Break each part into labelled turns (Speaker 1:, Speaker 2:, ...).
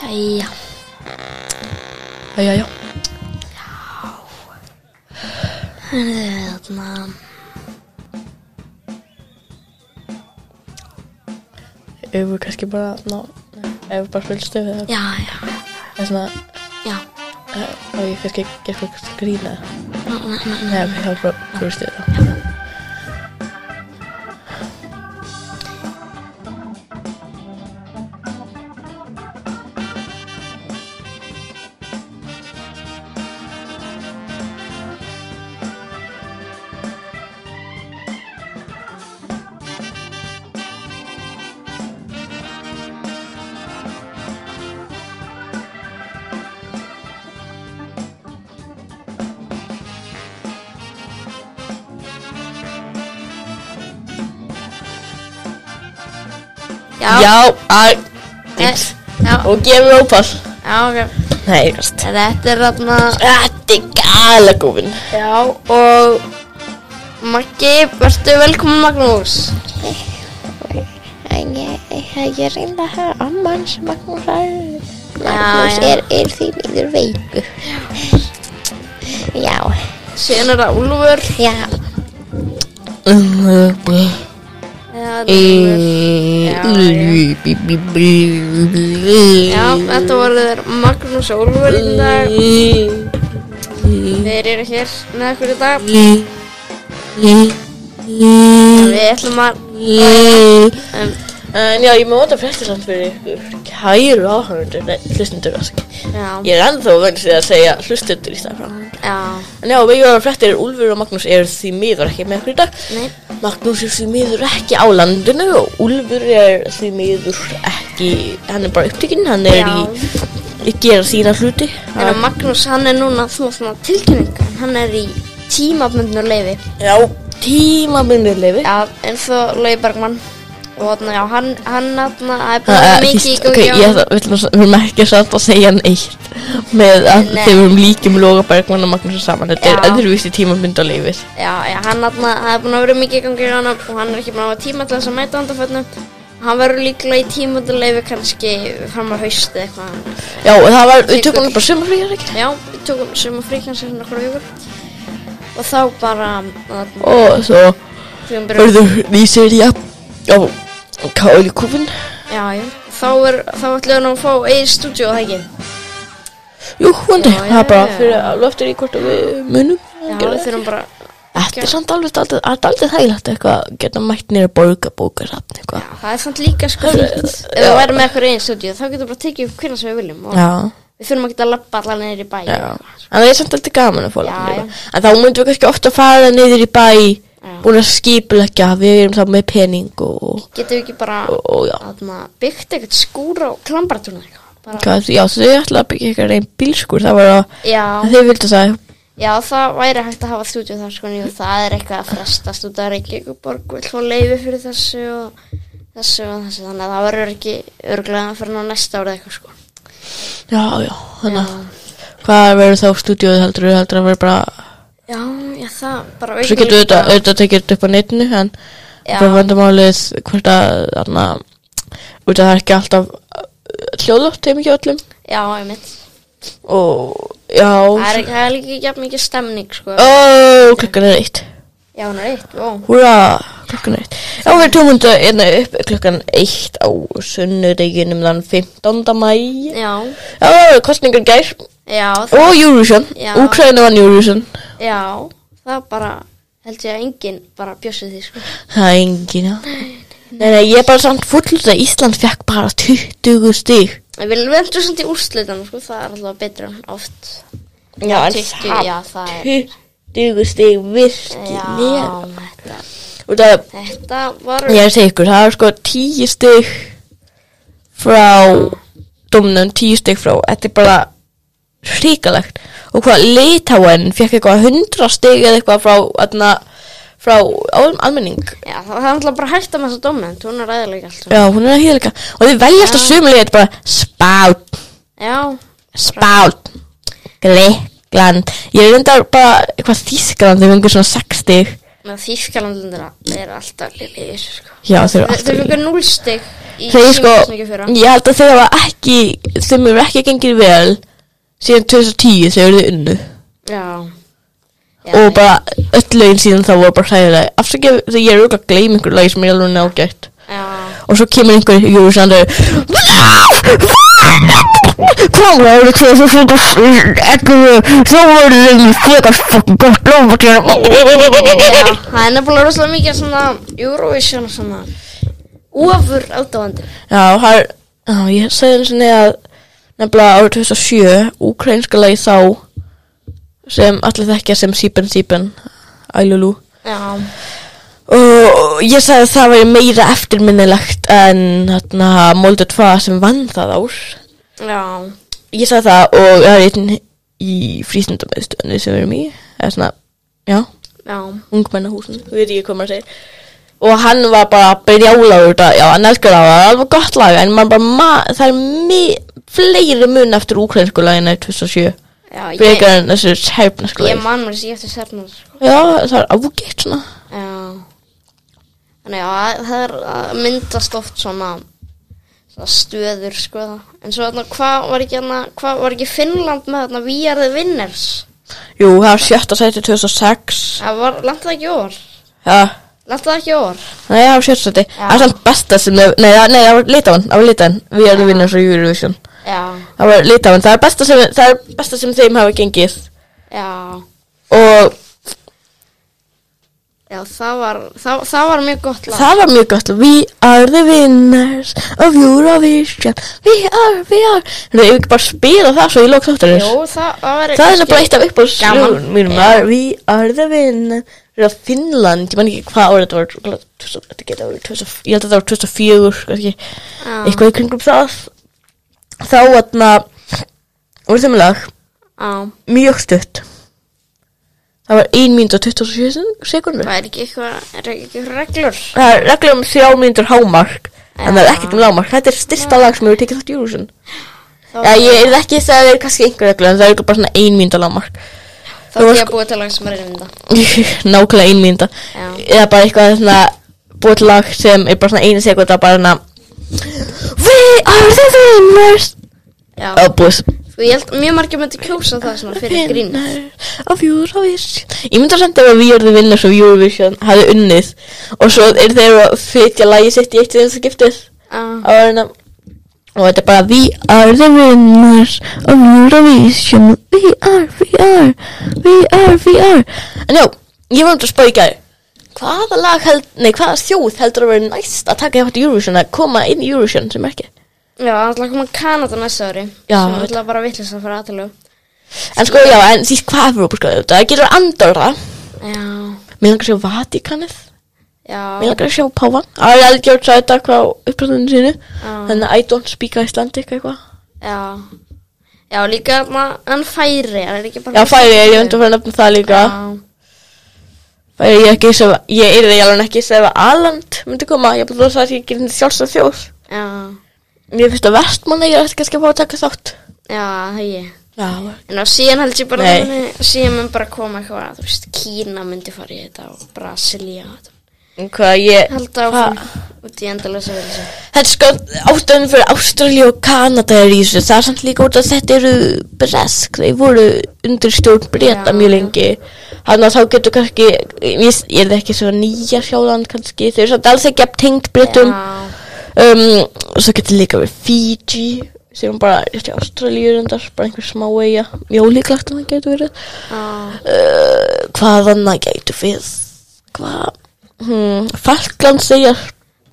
Speaker 1: Hej.
Speaker 2: Ja, ja, ja.
Speaker 1: Rädna.
Speaker 2: Över kanske bara nå. Över bara fullstöv.
Speaker 1: Ja, ja,
Speaker 2: En sån här.
Speaker 1: ja.
Speaker 2: Och jag kanske kanske också grina.
Speaker 1: Nej, nej, nej, nej.
Speaker 2: Nej, vi har bara fullstöv.
Speaker 1: Ja, ja.
Speaker 2: Ja, aj.
Speaker 1: eh,
Speaker 2: Tips.
Speaker 1: ja,
Speaker 2: Och ge mig hoppas.
Speaker 1: ja okay.
Speaker 2: Nej, fast.
Speaker 1: Þetta er hérna, þarna
Speaker 2: Þetta er gala gófin.
Speaker 1: Já, og Maggi, verður velkomin Magnús
Speaker 3: En ég, ég er reynda að höra amman sem Magnús er Magnús
Speaker 1: já.
Speaker 3: er, er því miður veiku Já,
Speaker 1: Síðan er það Úlfur
Speaker 3: já,
Speaker 1: Já, þetta er Úlfur. Já, þetta voru þeir Magnús og Úlfur í dag Þeir eru hér með okkur í dag Við ætlum að um,
Speaker 2: En já, ég má þetta frestisamt fyrir ykkur kæru áhörundur, nei, hlustendur rask.
Speaker 1: Já,
Speaker 2: Ég er ennþá vönst því að segja hlustendur í staðan frá áhörundur.
Speaker 1: já,
Speaker 2: En já, við erum fréttir, Úlfur og Magnús eru því miður ekki með okkur í dag.
Speaker 1: nei
Speaker 2: Magnús er því miður ekki á landinu og Úlfur er því miður ekki, hann er bara upptökinn, hann er
Speaker 1: Já.
Speaker 2: í, í gera sína hluti.
Speaker 1: En að Magnús, hann er núna smá svona tilkynninga Hann er í tímabundinu leifi
Speaker 2: Já, tímabundið lefi.
Speaker 1: Já, eins og Laugi Bergmann Og þarna, já, hann, hann, þarna, það er
Speaker 2: Það
Speaker 1: bara
Speaker 2: er
Speaker 1: mikið í
Speaker 2: fyrst- Ok,
Speaker 1: gangi á
Speaker 2: ég ætla, við ætlum að- við erum ekki samt að segja neitt með að
Speaker 1: Nei.
Speaker 2: þegar við erum líkjum Loga Bergmann og Magnús saman þetta er
Speaker 1: Já.
Speaker 2: öðruvísi tímabund á lífið
Speaker 1: Já, já, hann atna, það er búin að vera mikið í gangi á hann og hann er ekki búin að hafa tíma til þess að mæta andafötnum. Hann verður líklega í tímatuleifi kannski fram að hausti eitthvað.
Speaker 2: Já, og það var, við
Speaker 1: Tekur-
Speaker 2: tökum bara sumarfríðar ekki
Speaker 1: Já, við tókum sumar frí kannski svona okkur vikur. Og þá bara, atna,
Speaker 2: og svo
Speaker 1: þegar hann byrjar,
Speaker 2: verður ný seria á Káli Kúfin
Speaker 1: já, já, þá er, þá ætlum hann að fá eigið stúdíu það ekki.
Speaker 2: Jú, hundi,
Speaker 1: Já,
Speaker 2: það er
Speaker 1: já,
Speaker 2: bara
Speaker 1: já.
Speaker 2: fyrir að loftur í hvort að við munum
Speaker 1: Já,
Speaker 2: gera
Speaker 1: við
Speaker 2: það.
Speaker 1: þurfum bara,
Speaker 2: Þetta er samt alveg, þetta er aldrei þægilegt eitthvað að geta mætt nýra borga bókasafn eitthvað
Speaker 1: það er samt líka sko fínt. Ef við værum með eitthvað eigið stúdíu þá getum við bara tekið upp hvernig sem við viljum. Og
Speaker 2: Já
Speaker 1: við þurfum ekki að lappa allar niður í bæ.
Speaker 2: Já, en það er samt alltaf gaman að fóla
Speaker 1: Já,
Speaker 2: já, En þá myndum við kannski ofta fara niður í bæ Búin að skipleggja, við erum þá með pening og,
Speaker 1: Getum við ekki bara...
Speaker 2: og, og já
Speaker 1: Þarna, byggt eitthvað skúr á klambaratúrna eitthvað. Bara,
Speaker 2: Hvað, Já, þau ætlaði að byggja eitthvað einn bílskur Það var að,
Speaker 1: já,
Speaker 2: þau vildu það
Speaker 1: já, það væri hægt að hafa stúdíu þar sko, en jú, það er eitthvað að frestast út af Reykjavíkuborg vill fá leifi fyrir þessu og þessu og þessu, þannig að það verður ekki örglega fyrir ná næsta árið eitthvað sko.
Speaker 2: Já, já, þannig
Speaker 1: Já.
Speaker 2: að Hvað verður þá stúdíóið heldur við heldur að verður bara
Speaker 1: Já, já, það bara
Speaker 2: Svo getur við þetta, auðvitað tekið þetta upp á netinu En
Speaker 1: Já.
Speaker 2: bara vandamálið hvort að Þannig að út að það er ekki alltaf uh, Hljóðlótt heim ekki á öllum
Speaker 1: Já, einmitt.
Speaker 2: Og já
Speaker 1: Það er, það er líka ekki jafn mikið stemning sko.
Speaker 2: Ó, klukkan er eitt
Speaker 1: Já, hún er eitt, ó.
Speaker 2: Húra, klukkan eitt. Já, við tókum þetta einna hérna upp klukkan eitt á sunnudeginum þann 15. mæ.
Speaker 1: Já,
Speaker 2: Já, það voru kostningar í gær
Speaker 1: já, það,
Speaker 2: og Eurovision.
Speaker 1: Já.
Speaker 2: Úkraina vann Eurovision.
Speaker 1: já, það bara held ég að enginn bara bjössið því sko.
Speaker 2: Það er engin, já. Nei, nei, ég er bara samt fullur að Ísland fekk bara 20 stig.
Speaker 1: En Við vendum samt í úrslitan, sko, það er alltaf betra oft.
Speaker 2: Já, en
Speaker 1: 20, já, það er-
Speaker 2: 20 stig virkilega.
Speaker 1: Já, þetta,
Speaker 2: Og það,
Speaker 1: þetta var,
Speaker 2: ég er að segja ykkur, það er sko 10 stig frá domnum, 10 stig frá. Þetta er bara... hrikalegt og hvað Litáen fekk eitthvað 100 stig eða eitthvað frá, atna, frá al- almenning
Speaker 1: já, það það er alltaf bara hægt að með þessa domnend, hún er ræðilega allt. svona.
Speaker 2: já, hún er að hýðleika og þið velja alltaf sumlega bara spát,
Speaker 1: Já,
Speaker 2: spát Grekland, ég er reyndar bara eitthvað Þískland, þau fengur svona 6 stig
Speaker 1: með Þýskalandundina er alltaf liðir sko.
Speaker 2: Já, þeir eru
Speaker 1: Þeir
Speaker 2: alltaf
Speaker 1: fengur núlstig í
Speaker 2: Þeir sko,
Speaker 1: heimsmeistaramótinu fyrra.
Speaker 2: ég held að þeir hafa ekki, þeim hefur ekki gengið vel síðan 2010 þegar þau unnu
Speaker 1: Já. Já,
Speaker 2: og
Speaker 1: ég-
Speaker 2: bara öll lögin síðan þá voru bara hræðilega afsakið þegar ég er auðvitað að gleyma einhver lögi sem er alveg nágætt
Speaker 1: Já,
Speaker 2: og svo kemur einhver júsandur hvað var það þegar þú fyrir þá voru þeim frekar fokkin gott lög og
Speaker 1: Já,
Speaker 2: gera-
Speaker 1: það er nefnilega rosalega mikið svona Eurovision og svona ofur átáðandi
Speaker 2: Já, það er, já, ég segði eins og niður að nefnilega árið 2007, ukrainska lagi þá sem allir þekkja sem Sýpen Sýpen, Ælulú.
Speaker 1: Já,
Speaker 2: Og ég sagði að það væri meira eftirminnilegt en hérna Molde 2 sem vann það ár.
Speaker 1: já,
Speaker 2: Ég sagði það og það er einn í frístundamöðstöðunni sem við erum í, eða svona, já,
Speaker 1: já
Speaker 2: ungmennahúsin, við veit ekki hvað maður segir og hann var bara brjálaður út að, já, hann elskar það, það var alveg gott lag en maður bara, ma, það er mi, fleiri mun eftir úkrainsku lagina í 2007,
Speaker 1: Já, ég,
Speaker 2: frekar en þessu sérfnasku
Speaker 1: ég
Speaker 2: lagi,
Speaker 1: man mér sér eftir sérnur sko.
Speaker 2: já, það er ágætt svona,
Speaker 1: Já Þannig að það er að myndast oft svona, svona stöður sko það En svo þarna, hvað var ekki hérna, hvað var ekki Finnland með þarna We are the winners
Speaker 2: jú, það var sjötta sæti 2006,
Speaker 1: Það var, langt það ekki ofar
Speaker 2: já
Speaker 1: Langt það ekki ofar
Speaker 2: Nei, það var sjötsæti.
Speaker 1: Já.
Speaker 2: Það er samt besta sem, hef- nei, það- nei, það var litáin, það var litáin. Við erum vinnars á Eurovision.
Speaker 1: Já,
Speaker 2: Það var litáin, það er besta sem, það er besta sem þeim hafa gengið.
Speaker 1: já
Speaker 2: Og
Speaker 1: Já, það var, það, það var mjög gott lag
Speaker 2: Það var mjög gott We are the winners of Eurovision We are, we are Þú hefur ekki bara spila það svo í lók þáttarins
Speaker 1: Jú, það, það var
Speaker 2: Það er það bara eitt af upp á
Speaker 1: Gaman.
Speaker 2: sljóðun mínum
Speaker 1: Já.
Speaker 2: Það er We are the winners Það er Finnland, ég man ekki hvað árið þetta var örugglega 2000 Þetta geta árið 2000 Ég held að þetta var 2004 kannski,
Speaker 1: Já,
Speaker 2: Eitthvað í kringum það Þá atna voru þeim lag
Speaker 1: já
Speaker 2: mjög stutt Það var 1 mínútu og 27 sekundur
Speaker 1: Það er ekki eitthvað, er ekki eitthvað reglur
Speaker 2: það er reglum um þrjá mínútur hámark en það er ekkert um lágmark, þetta er styrsta lag sem hefur tekið þátt í Eurovision
Speaker 1: Þá
Speaker 2: Já, ég er ekki að segja að það eru kannski einhver reglur en það eru bara svona ein mínúta lágmark
Speaker 1: þá er ég að búa til lag sem er reynda
Speaker 2: nákvæmlega ein mínúta
Speaker 1: Já.
Speaker 2: eða bara eitthvað svona búið til lag sem er bara svona einu sekunda bara hérna We are the winners
Speaker 1: Já,
Speaker 2: og búið
Speaker 1: sko ég held mjög margir myndi kjósa það svona fyrir grín
Speaker 2: of Eurovision Ég myndi að senda ef að við erum vinnars of Eurovision hafði unnið og svo er þeir að flytja lagi sitt í eitt sem skiptið
Speaker 1: Já,
Speaker 2: áðurinn að og þetta er bara we are the winners of um Eurovision we are, we are, we are, we are en já, ég var um til að spá í gæri hvaða lag held, nei hvaða þjóð heldur að vera næst að taka hjá Eurovision að koma inn í Eurovision sem ekki
Speaker 1: Já, það ætla að koma Kanada næsta ári
Speaker 2: Já.
Speaker 1: Sem ætla bara vitlis að fara aðtölu
Speaker 2: en sko já, en því hvað Evrópa sko þetta getur Andorra,
Speaker 1: Já,
Speaker 2: mér langar að sjá Vatikanið mér
Speaker 1: já,
Speaker 2: langar að sjá Pávan að ég aldrei gjort þetta hvað uppræðunum sínu
Speaker 1: já,
Speaker 2: þannig að I don't speak Icelandic eitthvað
Speaker 1: ah. já Já, líka ma- hann færi Það er ekki bara
Speaker 2: já, færi, ég er undir að fara að nefna það líka Það er ég ekki sem, ég er því alveg ekki sem að Aland myndi koma, ég búið að það að ég gerir sjálfsög þjóð.
Speaker 1: Já, já,
Speaker 2: Mér finnst að vestmann ég er eftir kannski að fá að taka þátt.
Speaker 1: já, það er ég
Speaker 2: Já.
Speaker 1: En á síðan held ég bara
Speaker 2: Nei.
Speaker 1: að síðan mun bara koma eitthvað, þú veist, Kína myndi fara í þetta og Brasilia og þetta.
Speaker 2: En hvað ég,
Speaker 1: Held áfram út í endalösa vel þessu.
Speaker 2: þetta er sko ástöðan fyrir Ástralja og Kanada er í þessu, það er samt líka út að þetta eru bresk, þeir voru undir stjórn breyta
Speaker 1: Já,
Speaker 2: mjög
Speaker 1: já.
Speaker 2: lengi. Þannig að þá getur kannski, ég, ég er ekki svo nýja sjáland kannski, þeir eru samt alls ekki að tengt breytum.
Speaker 1: Já,
Speaker 2: Um, og svo getur líka verið Fiji sem er bara, ég ætti Ástralíu reyndar, bara einhver smá eiga, mjög líklegt að það getur verið
Speaker 1: já,
Speaker 2: uh, hvað annað getur við hvað hmm, Falkland segja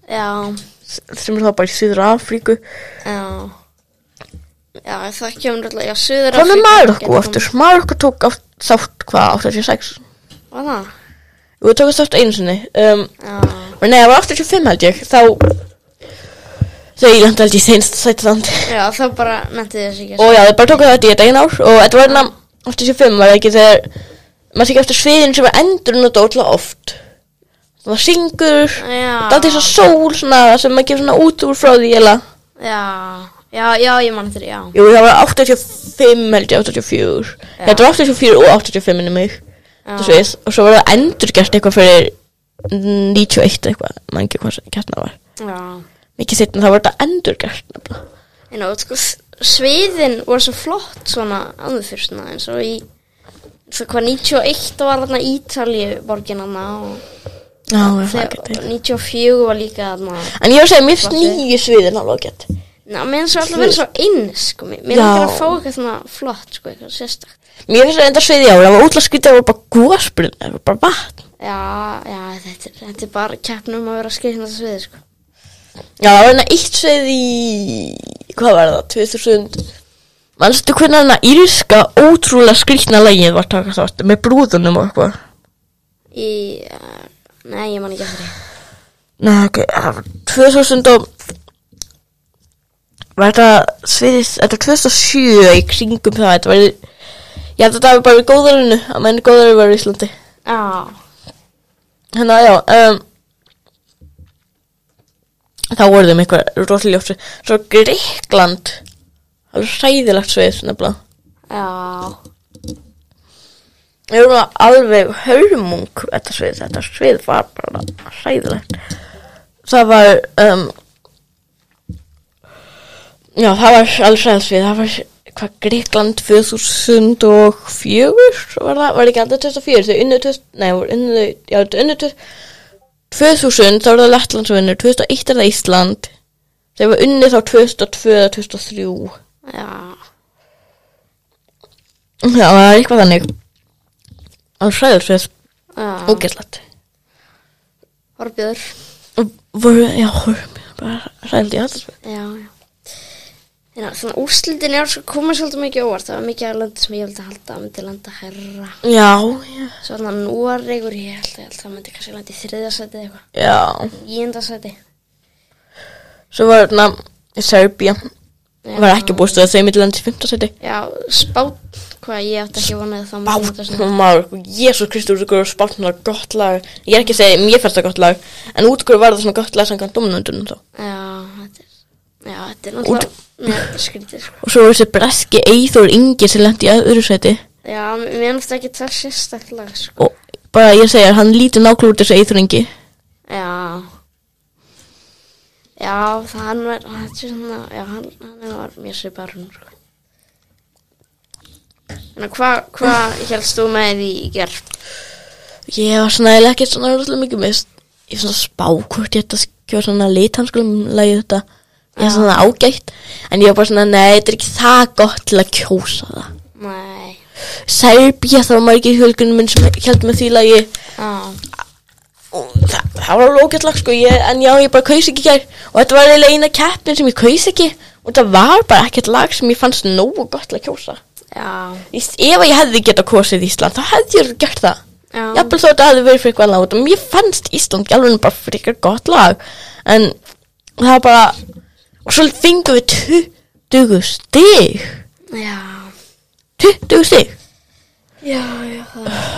Speaker 1: já,
Speaker 2: sem er þá bara í Suður Afríku
Speaker 1: já. Já, það kemur alltaf, já, Suður
Speaker 2: hvað með
Speaker 1: getur
Speaker 2: Marokko
Speaker 1: komið.
Speaker 2: aftur, Marokko tók átt, þátt hvað, 86
Speaker 1: Var það?
Speaker 2: og við tókum þátt einu sinni um,
Speaker 1: Já,
Speaker 2: og nei, það var 85 held ég þá þegar ég landi held ég seinst sætland
Speaker 1: já, þá bara nefndi þessi ekki.
Speaker 2: og já, þeir bara tóku þetta í þetta einn ár og þetta var hérna 85 var það ekki þegar maður tekið eftir sviðin sem var endur nota ótrúlega oft það var syngur
Speaker 1: Já.
Speaker 2: það er þess að sól svona sem maður kemur svona út úr frá því eða
Speaker 1: Já, já, já, ég man þetta, já.
Speaker 2: jú það var 85 held ég 84
Speaker 1: Já.
Speaker 2: þetta var 84 og 85 minni mig
Speaker 1: Já.
Speaker 2: þú veist, og svo var það endurgert eitthvað fyrir 91 eitthvað, maður ekki hvað gert það var
Speaker 1: Já.
Speaker 2: mikið setna þá var þetta endurgert nefnilega.
Speaker 1: En á, sko, s- sviðin voru svo flott svona áður fyrir svona eins og í eins og hvað 91 var þarna Ítalíu borgin hana og
Speaker 2: Já, eh. ég fann
Speaker 1: þegar-
Speaker 2: ekki til.
Speaker 1: 94 var líka þarna
Speaker 2: En ég var að segja, mér finnst
Speaker 1: Flottir.
Speaker 2: nýju sviðin alveg ágætt.
Speaker 1: Ná, mér finnst svo alltaf verið svo eins sko, mér mér
Speaker 2: Já.
Speaker 1: finnst að fá eitthvað svona flott sko, eitthvað sérstakt
Speaker 2: Mér finnst þetta sviði ára, það var útla skrítið, það var bara góðsbrunn, það var bara vatn.
Speaker 1: Já, já, þetta, er- þetta er bara keppnum að vera skriðna sviði sko
Speaker 2: Já, það var hérna eitt svið í, hvað var það, 2000. Manstu hvernig hérna írska ótrúlega skrítna lægið var takast átt með brúðunum og eitthvað.
Speaker 1: Í, uh, nei, ég man ekki eftir því
Speaker 2: Nei, ok, það var 2000 og, var þetta sviðið, þetta var 2007 í kringum það, þetta var, ég held að þetta var bara í góðarinu, að menni góðarinu var í Íslandi.
Speaker 1: Já,
Speaker 2: Þannig að já um, Þá voru þeim eitthvað rótljófsi Svo Gríkland Það var hræðilegt svið nefnilega
Speaker 1: já,
Speaker 2: Ég voru alveg hörmung Þetta svið, þetta svið var bara hræðilegt Það var um, Já, það var alls hræðilegt svið Það var hvað Gríkland 2004 var það, var ekki andur 2004 þau unnu 2000, nei, voru unnu þau- já, þau unnu 2000 2000 þá var það Lettland sem vinnur, 2001 er það Ísland þeir var unni þá 2002 eða 2003
Speaker 1: já
Speaker 2: já það er eitthvað þannig það var sæður svið,
Speaker 1: Já,
Speaker 2: ógæslegt
Speaker 1: Þorbjörn.
Speaker 2: og voru, já, voru mér bara sæður í alltaf svið
Speaker 1: Já, já. Þannig að svona úrslitin er sko komið svolítið mikið á óvart. Það var mikið að landi sem ég vildi halda að myndi landa hærra.
Speaker 2: já, já,
Speaker 1: Svo þannig að Noregur, ég held, ég held að það myndi kannski landi í þriðja sæti eða eitthvað.
Speaker 2: já
Speaker 1: Jíunda sæti.
Speaker 2: svo var þarna Serbia
Speaker 1: Já.
Speaker 2: var ekki búist að þau myndi landi í 15 seti
Speaker 1: Já, spátt, hvað ég átti ekki vonað það myndi landa svona.
Speaker 2: Spátnumar, Jésu Kristur, út okkur spátnumar, gott lag Ég er ekki að segja, mér fannst það gott lag En út okkur var það svona gott lag samkvæmt domnundunum þá
Speaker 1: Já, þetta er, já, þetta er náttúrulega, Nei, þetta er skrítið sko.
Speaker 2: Og svo var þessi breski Eithor Ingi sem lendi í öðru sæti
Speaker 1: Já, mér finnst ekki það sérstaklega sko.
Speaker 2: og bara ég segja, hann lítur nákvæmlega út þessi Eithor Ingi
Speaker 1: Já. Já, það hann var, þetta er svona, já, hann, hann var mjög sviparun, sko. En hvað hva helst þú með því í gerð?
Speaker 2: Ég var svona eða ekki svona rosalega mikið mist Ég svona spá hvort ég ætti að skjóða svona lit hann skulum lagi þetta Ég er svona ágætt En ég var bara svona, nei, þetta er ekki það gott til að kjósa það
Speaker 1: Nei,
Speaker 2: Serbia, það var margir hjölgunum minn sem held með því lagi
Speaker 1: já,
Speaker 2: og það, það var alveg ógætt lag sko ég, En já, ég bara kaus ekki í gær Og þetta var eiginlega eina keppnin sem ég kaus ekki Og það var bara ekkert lag sem ég fannst nógu gott til að kjósa
Speaker 1: já,
Speaker 2: Ég- Ef að ég hefði getað kosið Ísland, þá hefði ég gert það.
Speaker 1: Já.
Speaker 2: Jafnvel þó að þetta hefði verið fyrir eitthvað látum. Mér fannst Ísland alveg bara fyrir eitthvað gott lag. En það var bara, og svo fengum við 20 stig.
Speaker 1: já,
Speaker 2: 20 stig.
Speaker 1: já, já, það var.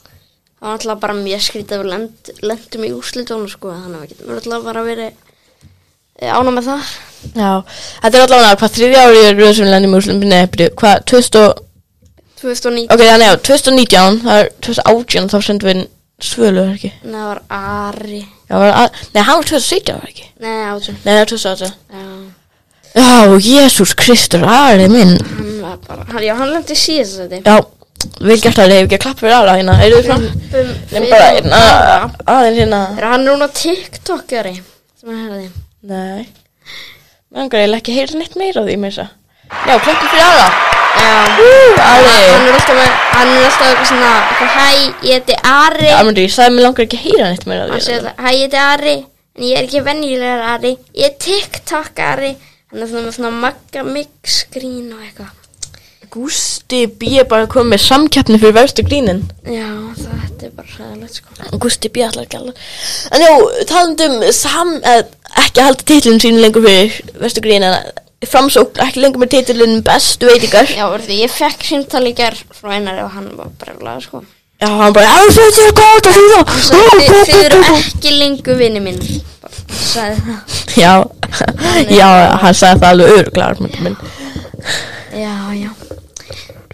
Speaker 1: Það var alltaf bara mjög skrítið að við lend, lendum í úrslitónu, sko, þannig að við getum alltaf bara verið ána með það.
Speaker 2: Já, þetta er allavega hvað þriðja ári er röð sem við lendum í úrslitum. Nei, byrju, hvað, 2000, og-
Speaker 1: 2019,
Speaker 2: ok, þannig já, 2019, það er 2018, þá sendum við svölu, er ekki?
Speaker 1: það hérna var Ari,
Speaker 2: Já, var, að, nei, hann var 2017, var ekki?
Speaker 1: nei, átjón,
Speaker 2: Nei, það er 2018.
Speaker 1: já.
Speaker 2: Já, Jésús Kristur, aðrið minn.
Speaker 1: Hann var bara, hann, já, hann lendi síðast þetta.
Speaker 2: Já, vel gert að hefur ekki að klappa fyrir aðra hérna, eru þið svona?
Speaker 1: Um,
Speaker 2: Nefn bara hérna, aðeins hérna.
Speaker 1: Er hann núna TikTokari? Sem hérna. að herði.
Speaker 2: Nei. Mér langar eiginlega ekki að heyra neitt meira af því með þessa. Já, klappa fyrir aðra.
Speaker 1: Já.
Speaker 2: Ú,
Speaker 1: Hann
Speaker 2: aðeins.
Speaker 1: er alltaf með, hann er alltaf eitthvað svona, eitthvað, hæ, ég heiti Ari.
Speaker 2: Almendu, ég sagði mér langar ekki að heyra neitt meira
Speaker 1: Hann
Speaker 2: af því.
Speaker 1: segir það, hæ, ég heiti Ari, en ég er ekki venjulegar Ari, ég er TikTokari. Hann er svona með svona magga mix grín og eitthvað.
Speaker 2: Gústi B. er bara komið með samkeppni fyrir verðstu grínin.
Speaker 1: Já, það þetta er bara hræðilegt sko.
Speaker 2: Gústi B. allar ekki allar. En já, talandum sam, eh, ekki að halda titlun sín lengur fyrir verðstu grínin. Framsókn, ekki lengur með titlun bestu veitingar.
Speaker 1: Já, verður því, ég fekk símtali í gerð frá einari og hann var breflega sko.
Speaker 2: Já, hann bara, já, þetta er gott að hlýða
Speaker 1: Hann sagði, "Þi- þið eru ekki lengur vinni minn. Bara sagði það.
Speaker 2: Já, já, hann sagði það alveg öruglega, Armund minn
Speaker 1: Já, já.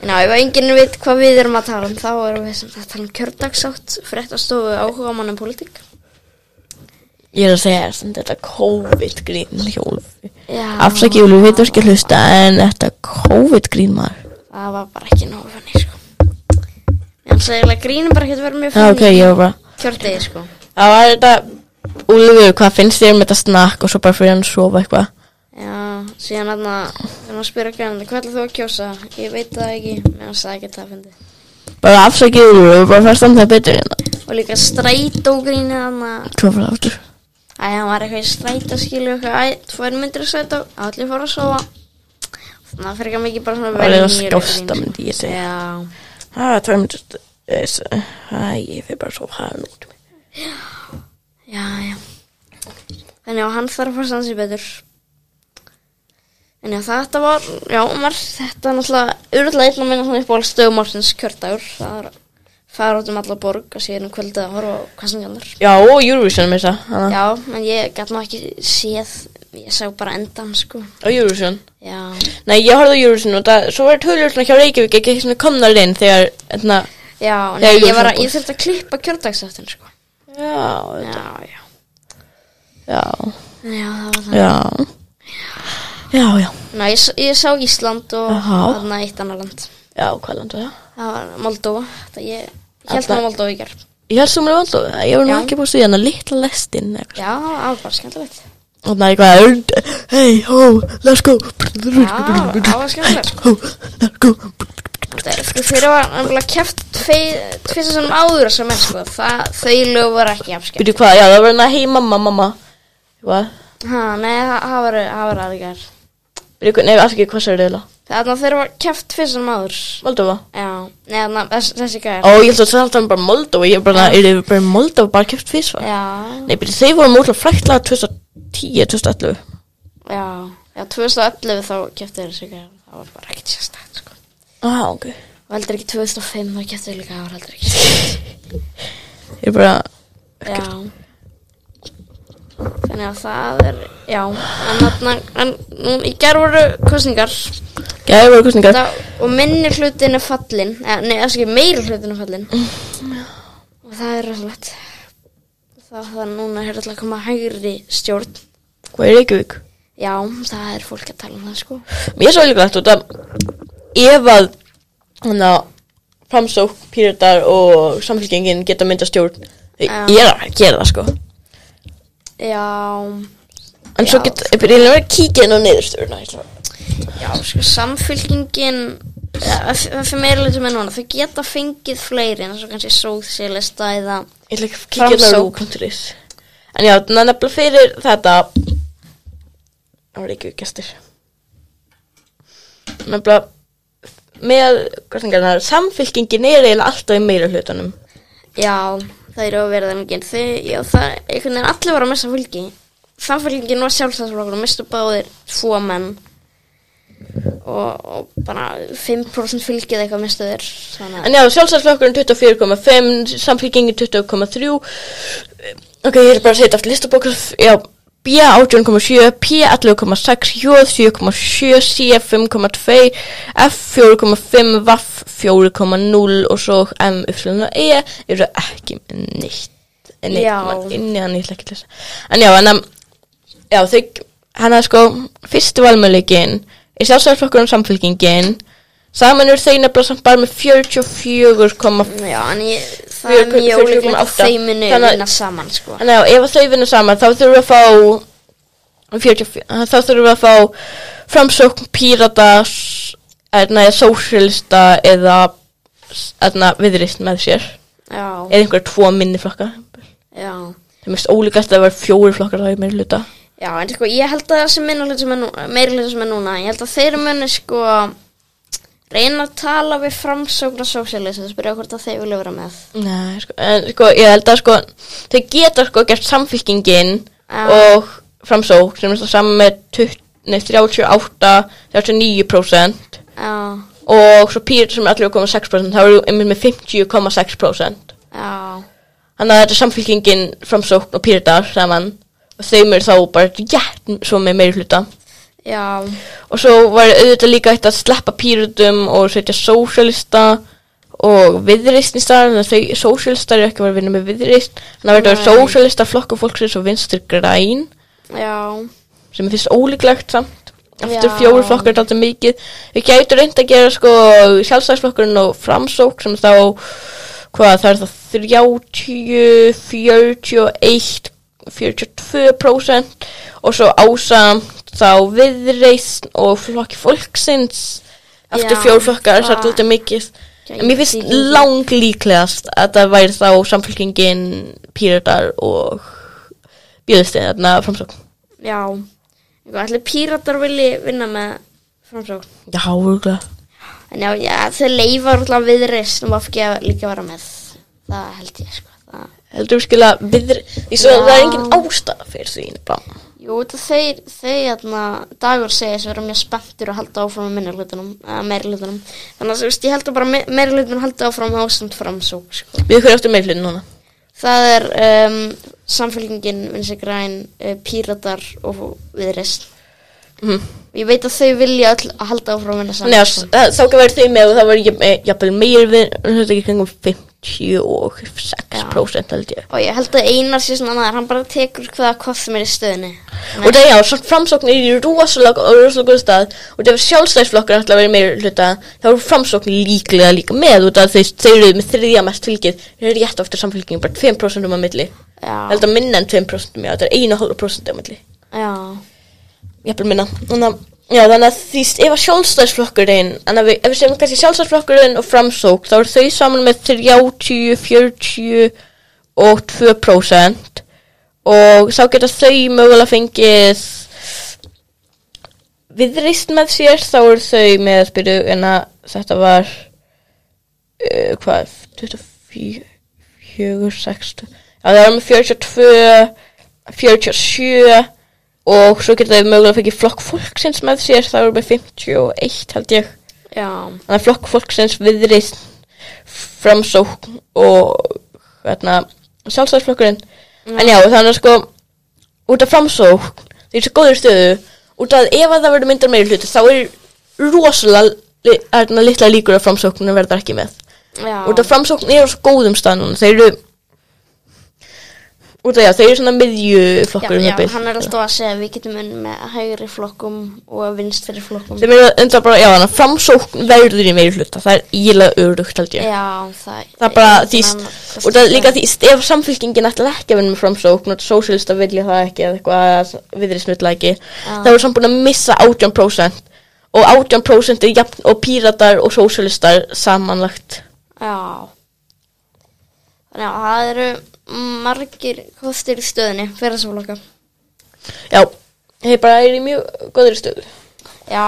Speaker 1: En já, ef enginn veit hvað við erum að tala um, þá erum við sem sagt að tala um kjördagsátt, fréttastofu, áhuga mann um pólitík.
Speaker 2: Ég er að segja þér sem þetta COVID-grín hjólfi.
Speaker 1: Já.
Speaker 2: Afsakið, Júli, við veitum ekki að hlusta, en þetta COVID-grín maður.
Speaker 1: Það var bara ekki nógu fannig, sko. En það er eiginlega grínum bara ekki að vera mjög
Speaker 2: Já,
Speaker 1: fannig.
Speaker 2: ok, ég var bara...
Speaker 1: Kjördegi, sko.
Speaker 2: Það var þetta, Úlfur, hvað finnst þér um þetta snakk og svo bara fyrir hann að sofa eitthvað?
Speaker 1: Já, síðan aðna, þegar maður spyrir ekki hann, hvað ætlar þú að kjósa? Ég veit það ekki, meðan það ekki það fyndi.
Speaker 2: Bara afsakið, Úlfur, við bara fannst hann það betur hérna.
Speaker 1: Og líka strætógrínið hann að,
Speaker 2: Hvað var það aftur?
Speaker 1: æ, hann var eitthvað í strætóskilu, eitthvað, æ, tvær myndir í strætó, allir fóru að sofa. Þannig að fyrir ekki mikið bara svona
Speaker 2: Það var eitthvað
Speaker 1: venjulegt
Speaker 2: skásta,
Speaker 1: grín, sko.
Speaker 2: myndi ég segja.
Speaker 1: Já,
Speaker 2: Það var tvær myndir, æ, ég fyrir bara að sofa hann út.
Speaker 1: já, já. Þannig að hann þarf að fara stansi betur. En já, þetta var, já, mar, þetta er náttúrulega, urðlega einn að minna svona upp á stöðumálsins kjördagur. Það er að fara út um alla borg og síðan um kvöldið að horfa á hvað sem gælar.
Speaker 2: Já, og Eurovision með það, hana.
Speaker 1: Já, en ég gæt nú ekki séð, ég sá bara endan, sko.
Speaker 2: Og Eurovision.
Speaker 1: Já,
Speaker 2: Nei, ég horfði á Eurovision og það, svo var tölur svona hjá Reykjavík ekki svona komnar inn þegar, hérna,
Speaker 1: já, en
Speaker 2: Já,
Speaker 1: ég,
Speaker 2: ég
Speaker 1: var að,
Speaker 2: fór.
Speaker 1: ég þurfti að klippa kjördagsáttin, sko.
Speaker 2: já,
Speaker 1: Já, já.
Speaker 2: já,
Speaker 1: Já, það var það.
Speaker 2: já, já, já,
Speaker 1: Ná, ég, s- ég sá Ísland og
Speaker 2: Jaha.
Speaker 1: þarna eitt annar land.
Speaker 2: já, hvað land var það?
Speaker 1: Það var Moldóa, það ég, ég held
Speaker 2: Alla-
Speaker 1: að Moldóa í gerð.
Speaker 2: Ég held sem mér vandu, ég var nú
Speaker 1: Já.
Speaker 2: ekki búin að stuðja hana litla lestin eða eitthvað.
Speaker 1: Já, það var bara skemmtilegt.
Speaker 2: Og það er eitthvað, und- hey, ho, let's go,
Speaker 1: Já, það var skemmtilegt.
Speaker 2: ho, let's go.
Speaker 1: Sko, þeir var nefnilega kæft tvisar sem áður sem er, sko. Það, þau lög var ekki afskemmt.
Speaker 2: Býtu hvað, já, það var hérna, hey, mamma, mamma, hvað?
Speaker 1: Ha, nei, það það var, það var aðri gerð.
Speaker 2: Býtu hvað, nei, afsakið, hvað sér reyla?
Speaker 1: Þannig að þeir var kæft tvisar sem áður.
Speaker 2: Moldova?
Speaker 1: Já, nei, þannig að þess, þessi gæðir.
Speaker 2: Ó, ég held að það var bara Moldova, ég er bara, er þið bara í Moldova, bara kæft fyrst, hvað?
Speaker 1: Já,
Speaker 2: Nei, býtu, þeir voru mótla fræktlega 2010, 2011.
Speaker 1: já, já, 2011 þá kæftu þeir þessi gæðir. Það var bara ekkert sérstætt, sko.
Speaker 2: Ah, ok.
Speaker 1: Og heldur ekki 2005 þá kæftu þeir líka, það var heldur ekki sérstætt.
Speaker 2: Ég er bara,
Speaker 1: Já Þannig að það er Já, en þarna en, nú, Í gerð voru kostningar
Speaker 2: já, ég voru kostningar.
Speaker 1: það, Og minni hlutin er fallin eh, Nei, það er ekki meiri hlutin er fallin Mm. Og það er rosalegt Það, það núna er alltaf að koma hægri stjórn
Speaker 2: Hvað er Reykjavík?
Speaker 1: Já, það er fólk að tala um það sko
Speaker 2: Mér svo líka þetta út að ef að hana, framsók, píratar og samfélkingin geta mynda stjórn
Speaker 1: Já.
Speaker 2: ég er að gera það sko
Speaker 1: Já,
Speaker 2: en svo
Speaker 1: Já.
Speaker 2: geta, ég byrja að vera að kíkja inn á niðurstöðuna
Speaker 1: já, sko samfylkingin Það fyrir meira hlutum en núna Þau geta fengið fleiri En svo kannski sóðsélista eða
Speaker 2: ég ætla ekki að kíkja inn á
Speaker 1: Framsókn.
Speaker 2: rú.is en já, þannig að nefnilega fyrir þetta það var ekki gestir nefnilega með, hvað sem gerðar samfélkingin er eiginlega alltaf í meira hlutunum
Speaker 1: Já, það eru að vera það mikið Þau, já, það, einhvern veginn allir voru að missa fylgi Samfélgingin var sjálfstæðsflokkur og mistu báðir tvo menn og, og bara 5% fylgið eitthvað mistu þér Þannig
Speaker 2: En já, sjálfstæðsflokkurinn 24,5, samfélkingin 20,3 Ok, ég er bara að segja þetta aftur listabók Já, B 18,7, P 11,6, J 7,7, C 5,2, F 4,5, V 4,0 og svo M, Y og E eru ekki með neitt Nei,
Speaker 1: Já.
Speaker 2: inni hann ég ætla ekki að lesa En já, en um, að Já, þau, hann að sko Fyrstu valmöðleikin Í sjálfstæðsflokkurinn og samfélkingin Saman eru þeir nefnilega samt bara með 44,5
Speaker 1: að Já, en ég, það er
Speaker 2: Fjögur-
Speaker 1: mjög
Speaker 2: fjögur
Speaker 1: ólíklegt
Speaker 2: komma
Speaker 1: að
Speaker 2: átta.
Speaker 1: þeim muni
Speaker 2: Þannig að-
Speaker 1: vinna saman, sko
Speaker 2: Þannig að ef að þau vinna saman þá þurfum við að fá 44, þá þurfum við að fá framsókn pírata eða sósjálista eða eðna, viðrist með sér
Speaker 1: Já,
Speaker 2: eða einhverja tvo minni flokka
Speaker 1: já
Speaker 2: það er mest ólíkast að það var fjóri flokkar þá í meira hluta
Speaker 1: Já, en sko, ég held að það sem minna hlutum er núna, meiri hlutum sem er núna, ég held að þeir muni sko reyna að tala við framsóknar sósíalist og spyrja hvort að þeir vilja vera með.
Speaker 2: Nei, sko, en sko, ég held að sko þau geta sko gert samfylkingin
Speaker 1: Já.
Speaker 2: og framsókn sem er það saman með 20, nei, 38 39%
Speaker 1: Já,
Speaker 2: og svo pýrita sem er 11,6% þá eru einmitt með 50,6%
Speaker 1: já.
Speaker 2: þannig að þetta er samfélkingin framsókn og pýrita saman og þeim eru þá bara rétt svo með meiri hluta
Speaker 1: Já,
Speaker 2: og svo var auðvitað líka eitt að sleppa pýrutum og setja sósjalista og viðreistnistar en þau sósjalistar eru ekki að vera að vinna með viðreist þannig að þetta var
Speaker 1: Nei.
Speaker 2: sósjalista flokku fólksins og vinstur græn
Speaker 1: Já,
Speaker 2: sem ég finnst ólíklegt samt eftir
Speaker 1: Já.
Speaker 2: fjóru flokkar er alltaf mikið við gætu reynd að gera sko sjálfstæðsflokkurinn og framsók sem þá hvað það er það 30, 41 42% og svo ásamt þá viðreisn og flokki fólksins eftir
Speaker 1: Já,
Speaker 2: fjóru flokkar það er
Speaker 1: það-
Speaker 2: alltaf mikið en mér
Speaker 1: Gæti
Speaker 2: finnst
Speaker 1: líka.
Speaker 2: lang líklegast að það væri þá samfélkingin píratar og bjöðustið þarna framsók
Speaker 1: já. Eitthvað, allir píratar vilji vinna með framsókn.
Speaker 2: Já, örgulega.
Speaker 1: En já, já þau leifar alltaf viðreist og FG líka að vera með. Það held ég, sko. Það.
Speaker 2: Heldur við skilja viðri... Ég svo
Speaker 1: Já.
Speaker 2: það er engin ástæða fyrir því, bara.
Speaker 1: Jú, þetta þeir, þeir, hérna, dagur segja þess að vera mjög spenntur að halda áfram með minni hlutunum, eða meiri hlutunum. Þannig að, þú veist, ég held að bara me- meiri hlutunum halda áfram ástand framsók, sko.
Speaker 2: Við hverju áttu meilin núna?
Speaker 1: Það er um, samfélkingin, vinstri græn, uh, píratar og viðreist.
Speaker 2: Mhm.
Speaker 1: Ég veit að þau vilja öll að halda áfram minna
Speaker 2: Nei,
Speaker 1: saman.
Speaker 2: þá þá ekki verið þau með og það var eh, jafnvel meir við, þetta ekki kringum 56% held ég.
Speaker 1: Og ég held að Einar sé svona maður, hann bara tekur hvaða kostum er í stöðinni.
Speaker 2: Og það já, svo framsóknir í rosalega og rosalega góð stað og það var sjálfstæðisflokkur alltaf verið meir hluta þá var framsóknir líklega líka með út af þeir, þeir eru með þriðja mest fylgið þeir eru rétt ofta samfylgjum bara 2% um að milli
Speaker 1: Já,
Speaker 2: held að minna en 2% um já, þetta er 1,5% um að milli
Speaker 1: já,
Speaker 2: jafnvel minna þannig að, já, þannig að því st- ef að sjálfstæðsflokkurinn þannig að við, ef við segjum kannski sjálfstæðsflokkurinn og framsók þá eru þau saman með 30, 40 og 2% og þá geta þau mögulega fengið viðreist með sér þá eru þau með spyru en að þetta var uh, hvað 24, 60 já það var með 42 47 og svo geta þau mögulega fengið flokk fólksins með sér þá eru með 51 held ég
Speaker 1: já,
Speaker 2: þannig að flokk fólksins viðreist framsókn og hérna sjálfstæðsflokkurinn en já þannig að sko út af framsókn þeir eru svo góður stöðu út af ef að það verður myndar meiri hluti þá er rosalega li, hérna, litla líkur að framsóknin verður ekki með
Speaker 1: já.
Speaker 2: út af framsókn eru á svo góðum stað núna þeir eru út af já þeir eru svona miðjuflokkur um
Speaker 1: já,
Speaker 2: það
Speaker 1: já,
Speaker 2: bil.
Speaker 1: hann er alltaf að segja að við getum unn með hægri flokkum og vinstri flokkum.
Speaker 2: sem eru undra bara, já, þannig að framsókn verður í meiri hluta, það er ílega örugt held ég.
Speaker 1: Já, það,
Speaker 2: Það er bara því,
Speaker 1: engin annar-
Speaker 2: og það er líka því, ef samfélkingin ætla ekki að vinna með framsókn og sósíalista vilja það ekki eða eitthvað viðri snulla ekki, þá er samt búin að missa 18% og 18% er jafn og píratar og sósíalistar samanlagt.
Speaker 1: Já. Þannig að það eru margir kostir í stöðinni fyrir þessa flokka.
Speaker 2: Já, þeir bara er í mjög góðri stöðu.
Speaker 1: Já.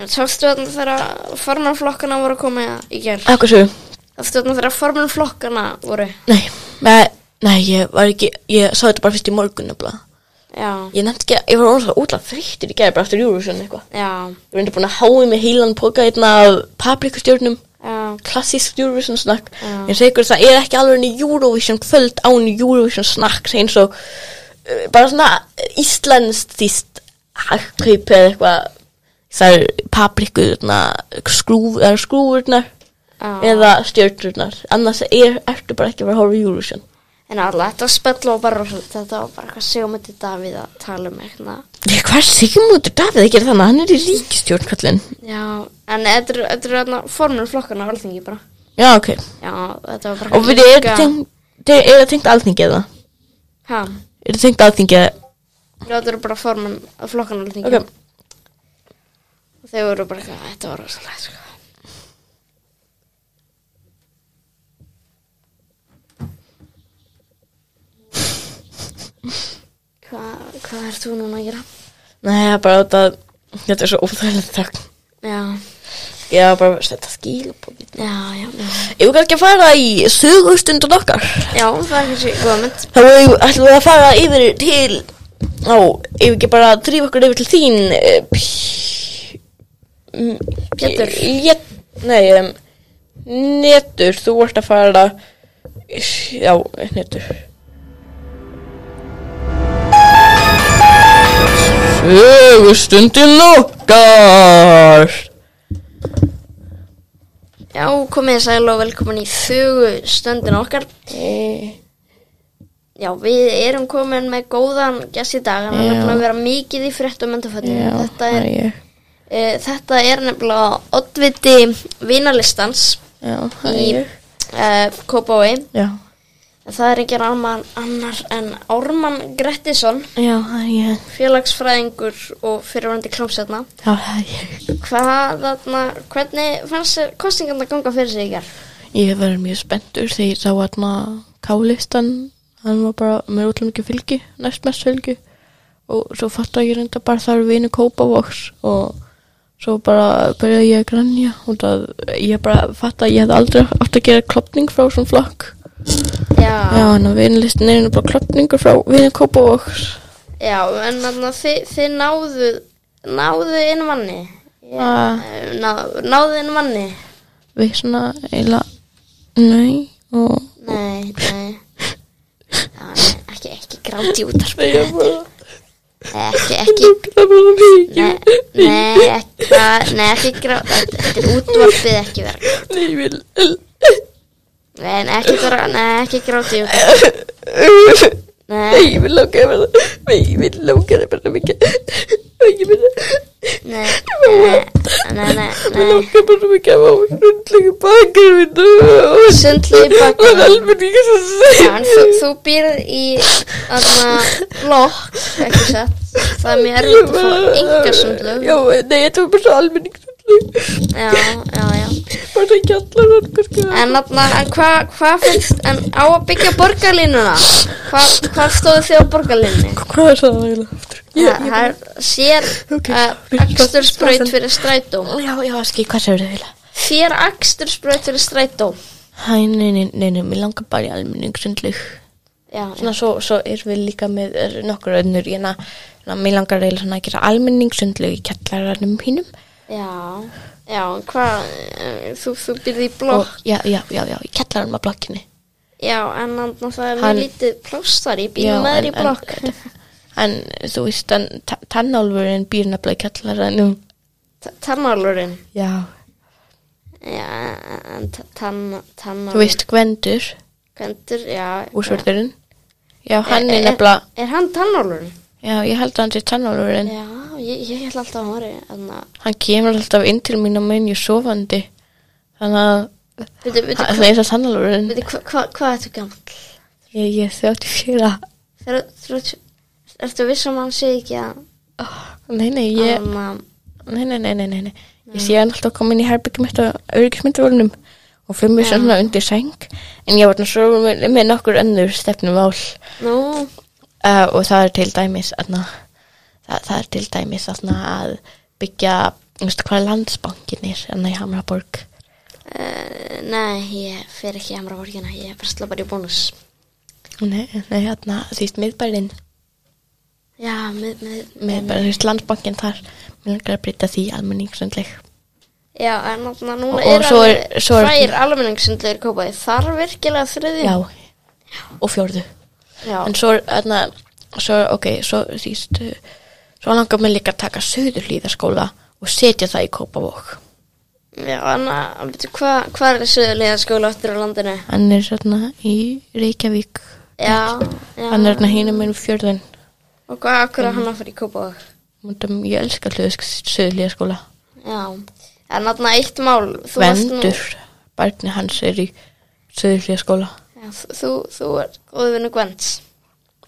Speaker 1: En sástu þarna þegar formanflokkana voru að koma í gerð?
Speaker 2: Eitthvað svo,
Speaker 1: Sástu þarna þegar formanflokkana voru?
Speaker 2: nei, með, nei, ég var ekki, ég sá þetta bara fyrst í morgun nefnilega.
Speaker 1: Já.
Speaker 2: Ég nefndi ekki, ég var orðan svo útla þreyttir í gerð bara eftir Eurovision eitthvað.
Speaker 1: Já.
Speaker 2: Ég reyndi búin að háið mér heilan póka hérna af paprikustjórnum,
Speaker 1: Já.
Speaker 2: klassísk Eurovision snakk.
Speaker 1: Já.
Speaker 2: Ég segi ykkur það er ekki alveg enn Eurovision kvöld án Eurovision snakk, eins og uh, bara svona íslenskt þýst hagkaup eða eitthvað. Það er paprikurnar, skrúf, er skrúfurnar
Speaker 1: Já.
Speaker 2: eða stjórnurnar. Annars er, ertu bara ekki að vera að horfa á Eurovision.
Speaker 1: En alltaf, þetta var spell og bara, þetta var bara eitthvað sigumöndi Davíð að tala um eitthvað.
Speaker 2: Ég, hvað er Sigmundur Davíð að gera þannig? Hann er í ríkistjórnkallin.
Speaker 1: Já. En þetta eru- þetta eru þarna formanflokkana á alþingi bara.
Speaker 2: Já, ok.
Speaker 1: Já, þetta var bara
Speaker 2: Og við erum tengt, er það tengt alþingi eða?
Speaker 1: Hæ?
Speaker 2: Er það tengt alþingi eða?
Speaker 1: Já, þetta eru bara formann af flokkan alþingi.
Speaker 2: Ok,
Speaker 1: Og þau voru bara eitthvað, þetta var rosalega, sko. Hvað, hvað ert þú núna að gera?
Speaker 2: nei, það er bara út að þetta er svo óþægilegt þögn.
Speaker 1: Já,
Speaker 2: Ég var bara að setja skil upp og býta.
Speaker 1: já, já, já.
Speaker 2: Ég vil kannski að fara í sögustundun okkar.
Speaker 1: Já, það er kannski góða mynd.
Speaker 2: Þá eigum- ætlum við að fara yfir til, á, ef við ekki bara að drífa okkur yfir til þín. eh, P- m-
Speaker 1: Pétur.
Speaker 2: Lét, nei, um, netur, þú vart að fara, já, netur. Sögustundin okkar
Speaker 1: Já, komið þið sæl og velkomin í þögu stöndin okkar. Já, við erum komin með góðan gest í dag, hann
Speaker 2: Já.
Speaker 1: er búin að vera mikið í fréttum endaföllinu. Þetta, er,
Speaker 2: ég
Speaker 1: e, þetta er nefnilega oddviti vinalistans
Speaker 2: Já, það er
Speaker 1: í
Speaker 2: ég
Speaker 1: e, Kópói.
Speaker 2: Já,
Speaker 1: Það er ekki annar, annar en Ármann Grettisson,
Speaker 2: já, það er ég
Speaker 1: félagsfræðingur og fyrirvændi klámsjöfna.
Speaker 2: Já, það er ég
Speaker 1: Hvað, þarna, hvernig fannst þér kostingarna ganga fyrir sig í gerð?
Speaker 2: Ég hef verið mjög spenntur þegar ég sá hérna K-listan Hann var bara með útlum ekki fylgi Næst mest fylgi Og svo fattar ég reynda bara það er vinu Kópavox Og svo bara byrjaði ég að grænja Og það, ég bara fatt að ég hef aldrei átt að gera klopning frá svona flokk Já,
Speaker 1: Já,
Speaker 2: en að vinlistin er nú bara klopningur frá vinu Kópavox
Speaker 1: já en þarna þið, þið náðu, náðu inn manni.
Speaker 2: Já
Speaker 1: Eh, Ná, náðu inn manni.
Speaker 2: við svona eiginlega nei og
Speaker 1: Nei, nei. Já, nei ekki, ekki gráti út af
Speaker 2: Nei, ég bara
Speaker 1: Ekki, ekki,
Speaker 2: Það var svo
Speaker 1: nei,
Speaker 2: mikið
Speaker 1: nei, ekki, það- nei, ekki gráti. Þetta er útvarpið ekki verið.
Speaker 2: Nei, ég vil
Speaker 1: Nei, nei, ekki, vera- nei, ekki gráti út.
Speaker 2: Nei,
Speaker 1: Nei,
Speaker 2: ég vil langa að verða Nei, ég vil langa að verða mikið Nei, ég vil
Speaker 1: nei, nei, nei, nei,
Speaker 2: Ég
Speaker 1: nei.
Speaker 2: langa bara mikið að fá Sundlegu bakar minn
Speaker 1: Sundlaug í bakinu.
Speaker 2: Og almenninga sem
Speaker 1: Já,
Speaker 2: segja
Speaker 1: en þú, þú býrð í þarna blokk, ekki satt. Það er mjög erfitt að fá enga sundlaug.
Speaker 2: Já, nei, ég tók bara svo almenning sundlegu
Speaker 1: Já, já, já.
Speaker 2: Bara ekki allar hann kannski
Speaker 1: En þarna, en hvað hva finnst, en á að byggja borgarlínuna? Hvað hva stóðu þið á borgarlínunni?
Speaker 2: Hvað er það eiginlega? aftur?
Speaker 1: Það
Speaker 2: Ég- ég-
Speaker 1: það er sér
Speaker 2: Ok.
Speaker 1: uh, akstursbraut fyrir strætó.
Speaker 2: Já, já, skil, hvað séu þau eiginlega?
Speaker 1: Þér akstursbraut fyrir strætó.
Speaker 2: Hæ, nei, nei, nei, nei, mér langar bara í almenning sundlug.
Speaker 1: Já, já.
Speaker 2: Svona svo, svo erum við líka með eh, nokkur önnur, ég na, na, mér langar eiginlega svona að gera almenning sundlug í kjallararnum mínum.
Speaker 1: Já, já, hvað, eh, þú, þú býrð í
Speaker 2: Og,
Speaker 1: blokk.
Speaker 2: já, já, já, já, í kjallararnum að blokkinni.
Speaker 1: Já, en þarna það er
Speaker 2: Hann-
Speaker 1: mjög lítið pláss þar, ég býð
Speaker 2: Já,
Speaker 1: með þér í
Speaker 2: en- en-
Speaker 1: blokk.
Speaker 2: En þú veist, en ta- tannálfurinn býr nefnilega í kjallararnum.
Speaker 1: Tannálurinn
Speaker 2: Já.
Speaker 1: Já, en ta- tann, tannálur
Speaker 2: Þú veist, Gvendur,
Speaker 1: Gvendur, já
Speaker 2: úsvörðurinn. Já, hann
Speaker 1: Er-
Speaker 2: er
Speaker 1: er-
Speaker 2: nefnilega,
Speaker 1: Er hann tannálurinn?
Speaker 2: já, ég held að hann sé tannálfurinn.
Speaker 1: Já, ég, ég held alltaf að hann var Þannig að,
Speaker 2: Hann kemur alltaf inn til mín og meðan ég er sofandi. Þannig að
Speaker 1: veitu, veitu, hva,
Speaker 2: það er eins og tannálfurinn.
Speaker 1: veitu, hva, hva, hvað ertu gammal?
Speaker 2: Ég, ég er 34
Speaker 1: Þegar, þrjótt, ertu viss um að hann sé ekki að
Speaker 2: Ah, Nei, nei, ég
Speaker 1: Þannig að,
Speaker 2: Nei, nei, nei, nei, nei, nei. Ég sé hann alltaf komin í herbyggjum mitt á öryggismyndavólnum og fyrir mig svona undir sæng en ég var þannig svo með, með nokkur önnur stefnum ál
Speaker 1: nú,
Speaker 2: og það er til dæmis aðna, það, það er til dæmis aðna, að byggja, veistu hvað landsbankin er enna í Hamraborg
Speaker 1: uh, nei, ég fer ekki í hamra borgina Ég versla bara í bónus
Speaker 2: Nei, nei, hérna, þú veist miðbærin
Speaker 1: Já, með, með,
Speaker 2: miðbærin, þú veist landsbankin þar mér langar að breyta því almenningssöndleg
Speaker 1: Já, en þannig að núna
Speaker 2: Og- og
Speaker 1: er
Speaker 2: svo er-
Speaker 1: alveg
Speaker 2: svo er-
Speaker 1: Tvær almenningssundlegur kópaði Þar virkilega þriði
Speaker 2: Já, og fjórðu
Speaker 1: já.
Speaker 2: En svo, hérna, svo, ok, svo, þýst, svo langar mér líka að taka söðurlíðaskóla og setja það í Kópavók.
Speaker 1: Já, Anna, veitu, hva, hvað er söðulega skóla áttur á landinu?
Speaker 2: Hann er hérna í Reykjavík,
Speaker 1: Já, já.
Speaker 2: hann er hérna hinum minn fjörðin.
Speaker 1: Og hvað, akkur er hann að fara í Kópavog?
Speaker 2: Múndum, ég elska hljóðu söðurlíðaskóla.
Speaker 1: Já. En þarna eitt mál, þú
Speaker 2: Vendur, barni hans er í söðurlíðaskóla.
Speaker 1: Já, þú, þú, þú er góðu vinnu Gwends.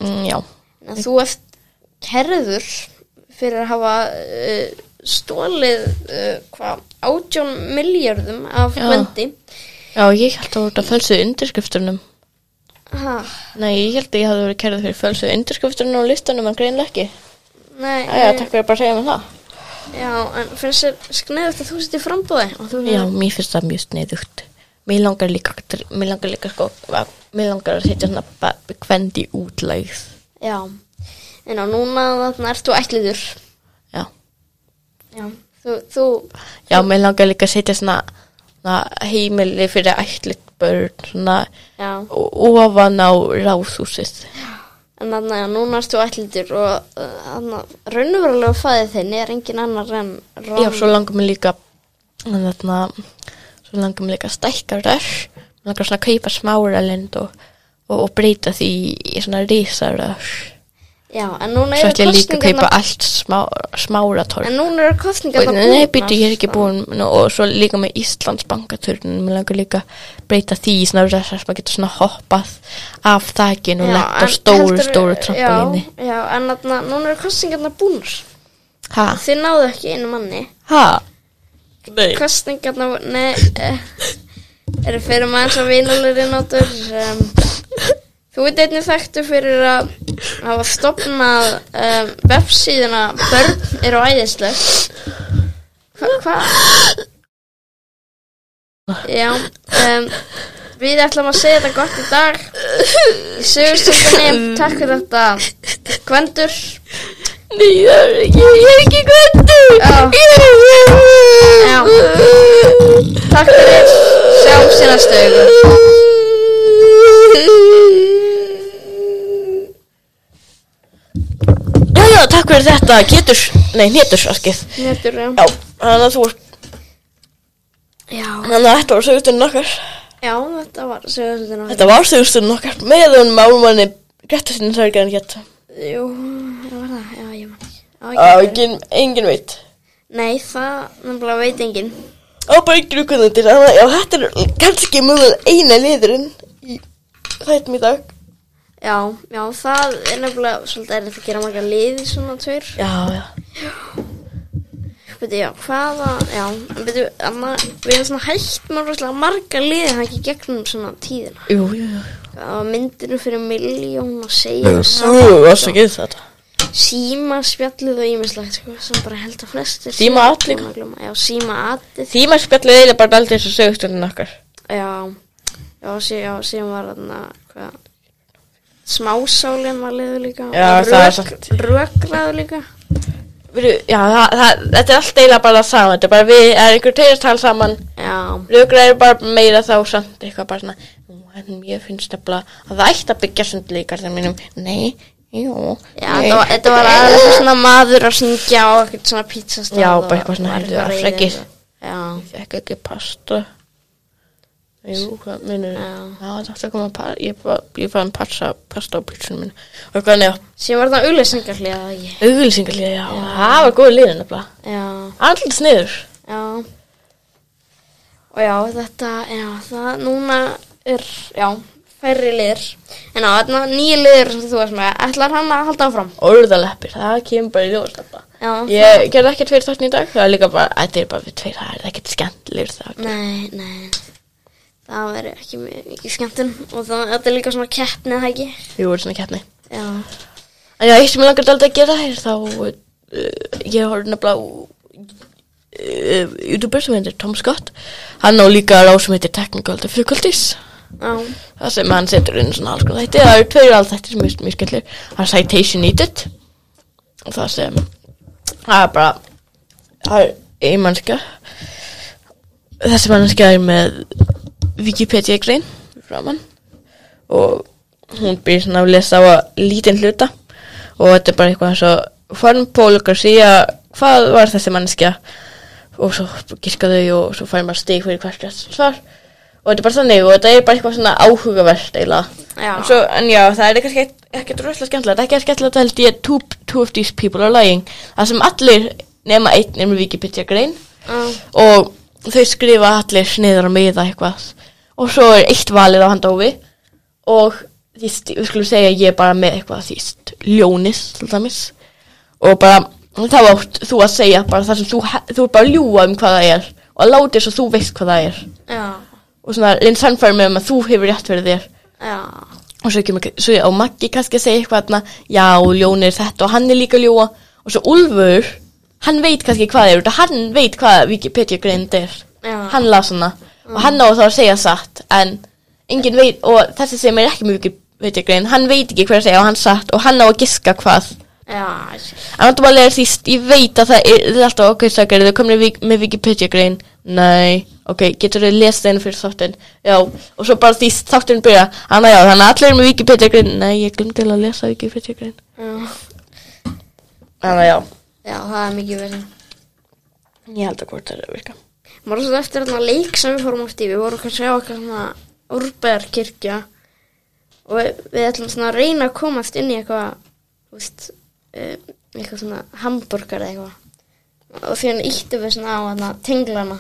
Speaker 2: Mm, já,
Speaker 1: En þú ert herður fyrir að hafa uh, stólið, uh, hvað, átjón miljörðum af
Speaker 2: Já.
Speaker 1: Gwendi.
Speaker 2: já, ég held að voru að fölsuðu undirskriftunum.
Speaker 1: Ha,
Speaker 2: Nei, ég held að ég hafði verið kærið fyrir fölsuðu undirskriftunum og listanum, en greinlega ekki.
Speaker 1: nei. eh,
Speaker 2: Æja, takk fyrir að bara segja mér það.
Speaker 1: Já, en finnst þér skneðast að þú sitt í frambúði og þú
Speaker 2: Já, mér finnst það mjög sniðugt. Mér langar líka, mér langar líka sko, að- mér langar að setja svona ba- kvendi útlægð.
Speaker 1: Já. En á núna þarna ert þú ætliður.
Speaker 2: Já.
Speaker 1: Já, þú, þú,
Speaker 2: Já, mér langar líka að setja svona, svona heimili fyrir ætlit börn, svona
Speaker 1: já.
Speaker 2: o- ofan á ráðhúsið.
Speaker 1: En þannig að núna ertu ætlitur og uh, þannig að raunverulega fæðið þinn er engin annar en
Speaker 2: Já, svo langar mér líka en þarna, svo langar mér líka að stækka rör mér langar svona að kaupa smára lind og, og, og breyta því í svona risa rör
Speaker 1: Já, en núna
Speaker 2: svo
Speaker 1: eru
Speaker 2: ætlum ég líka að kaupa
Speaker 1: kosningarnar-
Speaker 2: allt smá, smára torg
Speaker 1: En núna eru
Speaker 2: og
Speaker 1: kostningarna
Speaker 2: nei, býtu, ég er ekki búin nú, og svo líka með Íslands bankaturnin mér langar líka að breyta því í svona rör sem maður getur svona hoppað af þakin og lett á stóru, stóru trampolíni
Speaker 1: Já, já en þarna, núna eru kostningarna búnar
Speaker 2: ha,
Speaker 1: Þið náðu ekki einu manni
Speaker 2: ha nei,
Speaker 1: Kostningarna, voru- nei eh, Eru fyrir maður sem vinulegri notur um, Þú ert einnig þekktu fyrir að hafa stopnað um, websíðuna Börn eru æðisleg Hvað? Hva? Já um, Við ætlum að segja þetta gott í dag Í sögustundinni Takk fyrir þetta Gvendur
Speaker 2: nei ég, er, ég, ég er ekki göndur
Speaker 1: Já. Já. Takk fyrir Sjáum sér að stöðu
Speaker 2: Já, já, takk fyrir þetta, getur, nei, hnetur, askið.
Speaker 1: Nettur, já.
Speaker 2: Já, þannig að þú,
Speaker 1: já
Speaker 2: þannig að þetta var sögustunin okkar.
Speaker 1: Já, þetta var sögustundin
Speaker 2: Þetta var sögustunin okkar með hún málmanni Grettisinn Sörgjörn hétt.
Speaker 1: Jú, það var það, já, ég man ekki Já,
Speaker 2: Á,
Speaker 1: ég-
Speaker 2: engin, engin veit.
Speaker 1: Nei, það nefnilega veit enginn
Speaker 2: Á, bara engin ukkuðin til, þannig að já, þetta er kannski mögulega eina liðurinn í þættum í dag.
Speaker 1: Já, já, það er nefnilega svolítið erfitt að gera marga liði svona tveir
Speaker 2: Já, já.
Speaker 1: Beti, já, hvaða, já, en beti, anna, við erum svona hægt með rosalega marga liði hann ekki gegnum svona tíðina
Speaker 2: Jú, jú, jú.
Speaker 1: Það var myndinu fyrir miljón og segja
Speaker 2: Jú, askið þetta.
Speaker 1: Síma spjallið og ímislegt, sko, sem bara held að flestir
Speaker 2: Síma
Speaker 1: séu
Speaker 2: at líka.
Speaker 1: búin að gleyma. Já, síma atið
Speaker 2: Þýma spjallið eiginlega bara aldrei þessu sögustunin okkar.
Speaker 1: Já, já, sí, já síðan var þarna hvað smásálin var liður líka
Speaker 2: Já,
Speaker 1: og
Speaker 2: það er
Speaker 1: rök,
Speaker 2: satt.
Speaker 1: rökraður líka
Speaker 2: Við, já, það, það, þetta er allt eiginlega bara það sama, þetta er bara við, er einhver tegjartal saman,
Speaker 1: já,
Speaker 2: rögra er bara meira þá samt eitthvað bara svona, "Nú, en ég finnst nefnilega að það ætti að byggja sundleikar þegar mínum, nei, jú,
Speaker 1: já
Speaker 2: nei,
Speaker 1: þetta var, þetta var aðeins svona maður að syngja á eitthvað svona pizzastáð
Speaker 2: Já,
Speaker 1: og
Speaker 2: bara eitthvað svona,
Speaker 1: var
Speaker 2: heyrðu,
Speaker 1: eitthvað reiðin
Speaker 2: afsakið.
Speaker 1: og- já,
Speaker 2: fekk ekki pasta, jú, hvað minnur,
Speaker 1: Já.
Speaker 2: já, það ætti að koma að pasta, ég bara, ég fann pasta, pasta á pítsunum minn, og eitthvað neða,
Speaker 1: síðan var þarna auðlýsingarlega já,
Speaker 2: auðvilsingarlega, já, það var góð liðin nefnilega,
Speaker 1: já,
Speaker 2: allir sniður,
Speaker 1: já og já, þetta já, það núna er já, færri liður en á þarna nýju liður sem þú veist með ætlar hann að halda áfram
Speaker 2: orðaleppir, það kemur bara í ljós nefnilega.
Speaker 1: já,
Speaker 2: Ég gerði ekkert fyrir þáttin í dag, það er líka bara, þetta er bara við tveir, það er ekkert skemmtilegur það.
Speaker 1: Nei, nei Það verður ekki mjög mikið skemmtun og það, þetta er líka svona keppni eða ekki
Speaker 2: Við vorum svona keppni.
Speaker 1: Já,
Speaker 2: En já, eitt sem ég langar alltaf að gera er þá, uh, ég horfði nefnilega á uh, youtuber sem heitir Tom Scott, hann á líka ráð sem heitir Technical Difficulties.
Speaker 1: já,
Speaker 2: Það sem hann setur inn svona alls konar þætti, það eru tveir alls þættir sem er mjög skemmtilegur. Það er Citation Needed, og það sem, það er bara, það er ein mannska, þessi mannskja er með Wikipedia grein framann og hún býr svona að lesa á lítinn hluta og þetta er bara eitthvað eins og farum pólokar síða hvað var þessi mannskja og svo gíska þau og svo fær maður stig fyrir hvert rétt svar og þetta er bara þannig og þetta er bara eitthvað svona áhugavert eiginlega
Speaker 1: Já.
Speaker 2: en, svo, en já það er kannski ekkert- ekkert rosalega skemmtilegt það er ekki skemmtilegt að held ég two, two of these people are lying það sem allir nema einn er með Wikipedia grein
Speaker 1: já,
Speaker 2: og þau skrifa allir sniður og miða eitthvað og svo er eitt valið á handófi og því, st- við skulum segja ég er bara með eitthvað því st- ljónis til dæmis og bara þá átt þú að segja bara þar sem þú, he- þú er bara að ljúga um hvað það er og að láta þess að þú veist hvað það er
Speaker 1: já,
Speaker 2: og svona reynd sannfæri með um að þú hefur rétt fyrir þér
Speaker 1: já,
Speaker 2: og svo kemur svo á Maggi kannski að segja eitthvað þarna, já, ljón er þetta og hann er líka að ljúa og svo Úlfur, hann veit kannski hvað það er út af hann veit hvað Wikipedia greind er
Speaker 1: Já.
Speaker 2: hann las hana og hann á þá að segja satt en enginn veit, og þessi sem er ekki með Wikipedia greind, hann veit ekki hvað að segja og hann satt og hann á að giska hvað
Speaker 1: já,
Speaker 2: En þetta bara legar því, st- ég veit að það er, það er alltaf okkur sakar, þau komnir vik, með Wikipedia grein. Nei, ok, getur þau lesið einu fyrir þáttinn já, og svo bara því þáttinn byrja hann að já, þannig að allir eru með Wikipedia grinn nei, ég glemdi að lesa Wikipedia grinn
Speaker 1: Já,
Speaker 2: þannig að já,
Speaker 1: já það er mikið verið.
Speaker 2: ég held að hvort það er að virka
Speaker 1: Mára svo eftir þarna leik sem við fórum oft í, við vorum kannski á okkar svona úrbæðarkirkja og við, við ætlum svona að reyna að komast inn í eitthvað, þú veist, eh, eitthvað svona hambúrgar eða eitthvað. Og því hann íttu við svona á hana tenglana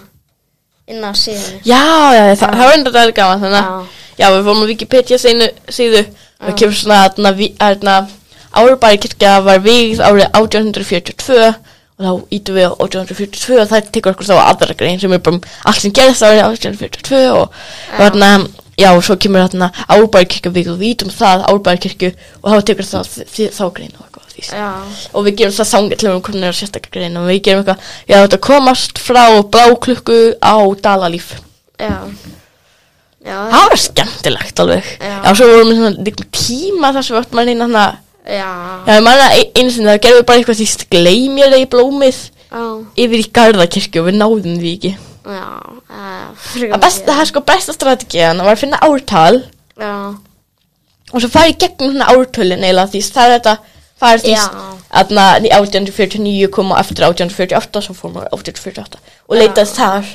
Speaker 1: inn á síðan.
Speaker 2: já, já, já, það, það var enda það gaman þannig að,
Speaker 1: Já.
Speaker 2: já, við fórum að Wikipedia sínu, síðu og kemur svona þarna vi- þarna Árbæðikirkja var vígð árið 1842 og þá ítum við á 1842 og það tekur okkur þá aðra grein sem er bara um allt sem gerðist árið 1842 og
Speaker 1: Já.
Speaker 2: þarna, já, og svo kemur þarna Árbæðikirkja vígð og við ítum það Árbæðikirkju og þá tekur það þi- þi- þá grein og eitthvað því
Speaker 1: Já,
Speaker 2: og við gerum það sangillum um hvernig er sérstakar grein og við gerum eitthvað, já þetta komast frá bláklukku á dalalíf
Speaker 1: já. Já,
Speaker 2: það var skemmtilegt alveg
Speaker 1: Já.
Speaker 2: já, svo vorum við svona líka með tíma þar sem við áttum að reyna hana
Speaker 1: já,
Speaker 2: já, ég manna einu sinni, það gerðum við bara eitthvað því gleymjara í blómið
Speaker 1: já.
Speaker 2: yfir í garðakirkju og við náðum því ekki
Speaker 1: Já, uh, frekar
Speaker 2: það, best, það er sko besta strategiðan var að finna ártal
Speaker 1: Já,
Speaker 2: og svo farið gegn svona ártölin eiginlega því það er þetta farið því
Speaker 1: Já.
Speaker 2: aðna 1849 kom og eftir 1848 svo fór maður 1848 og leitaði þar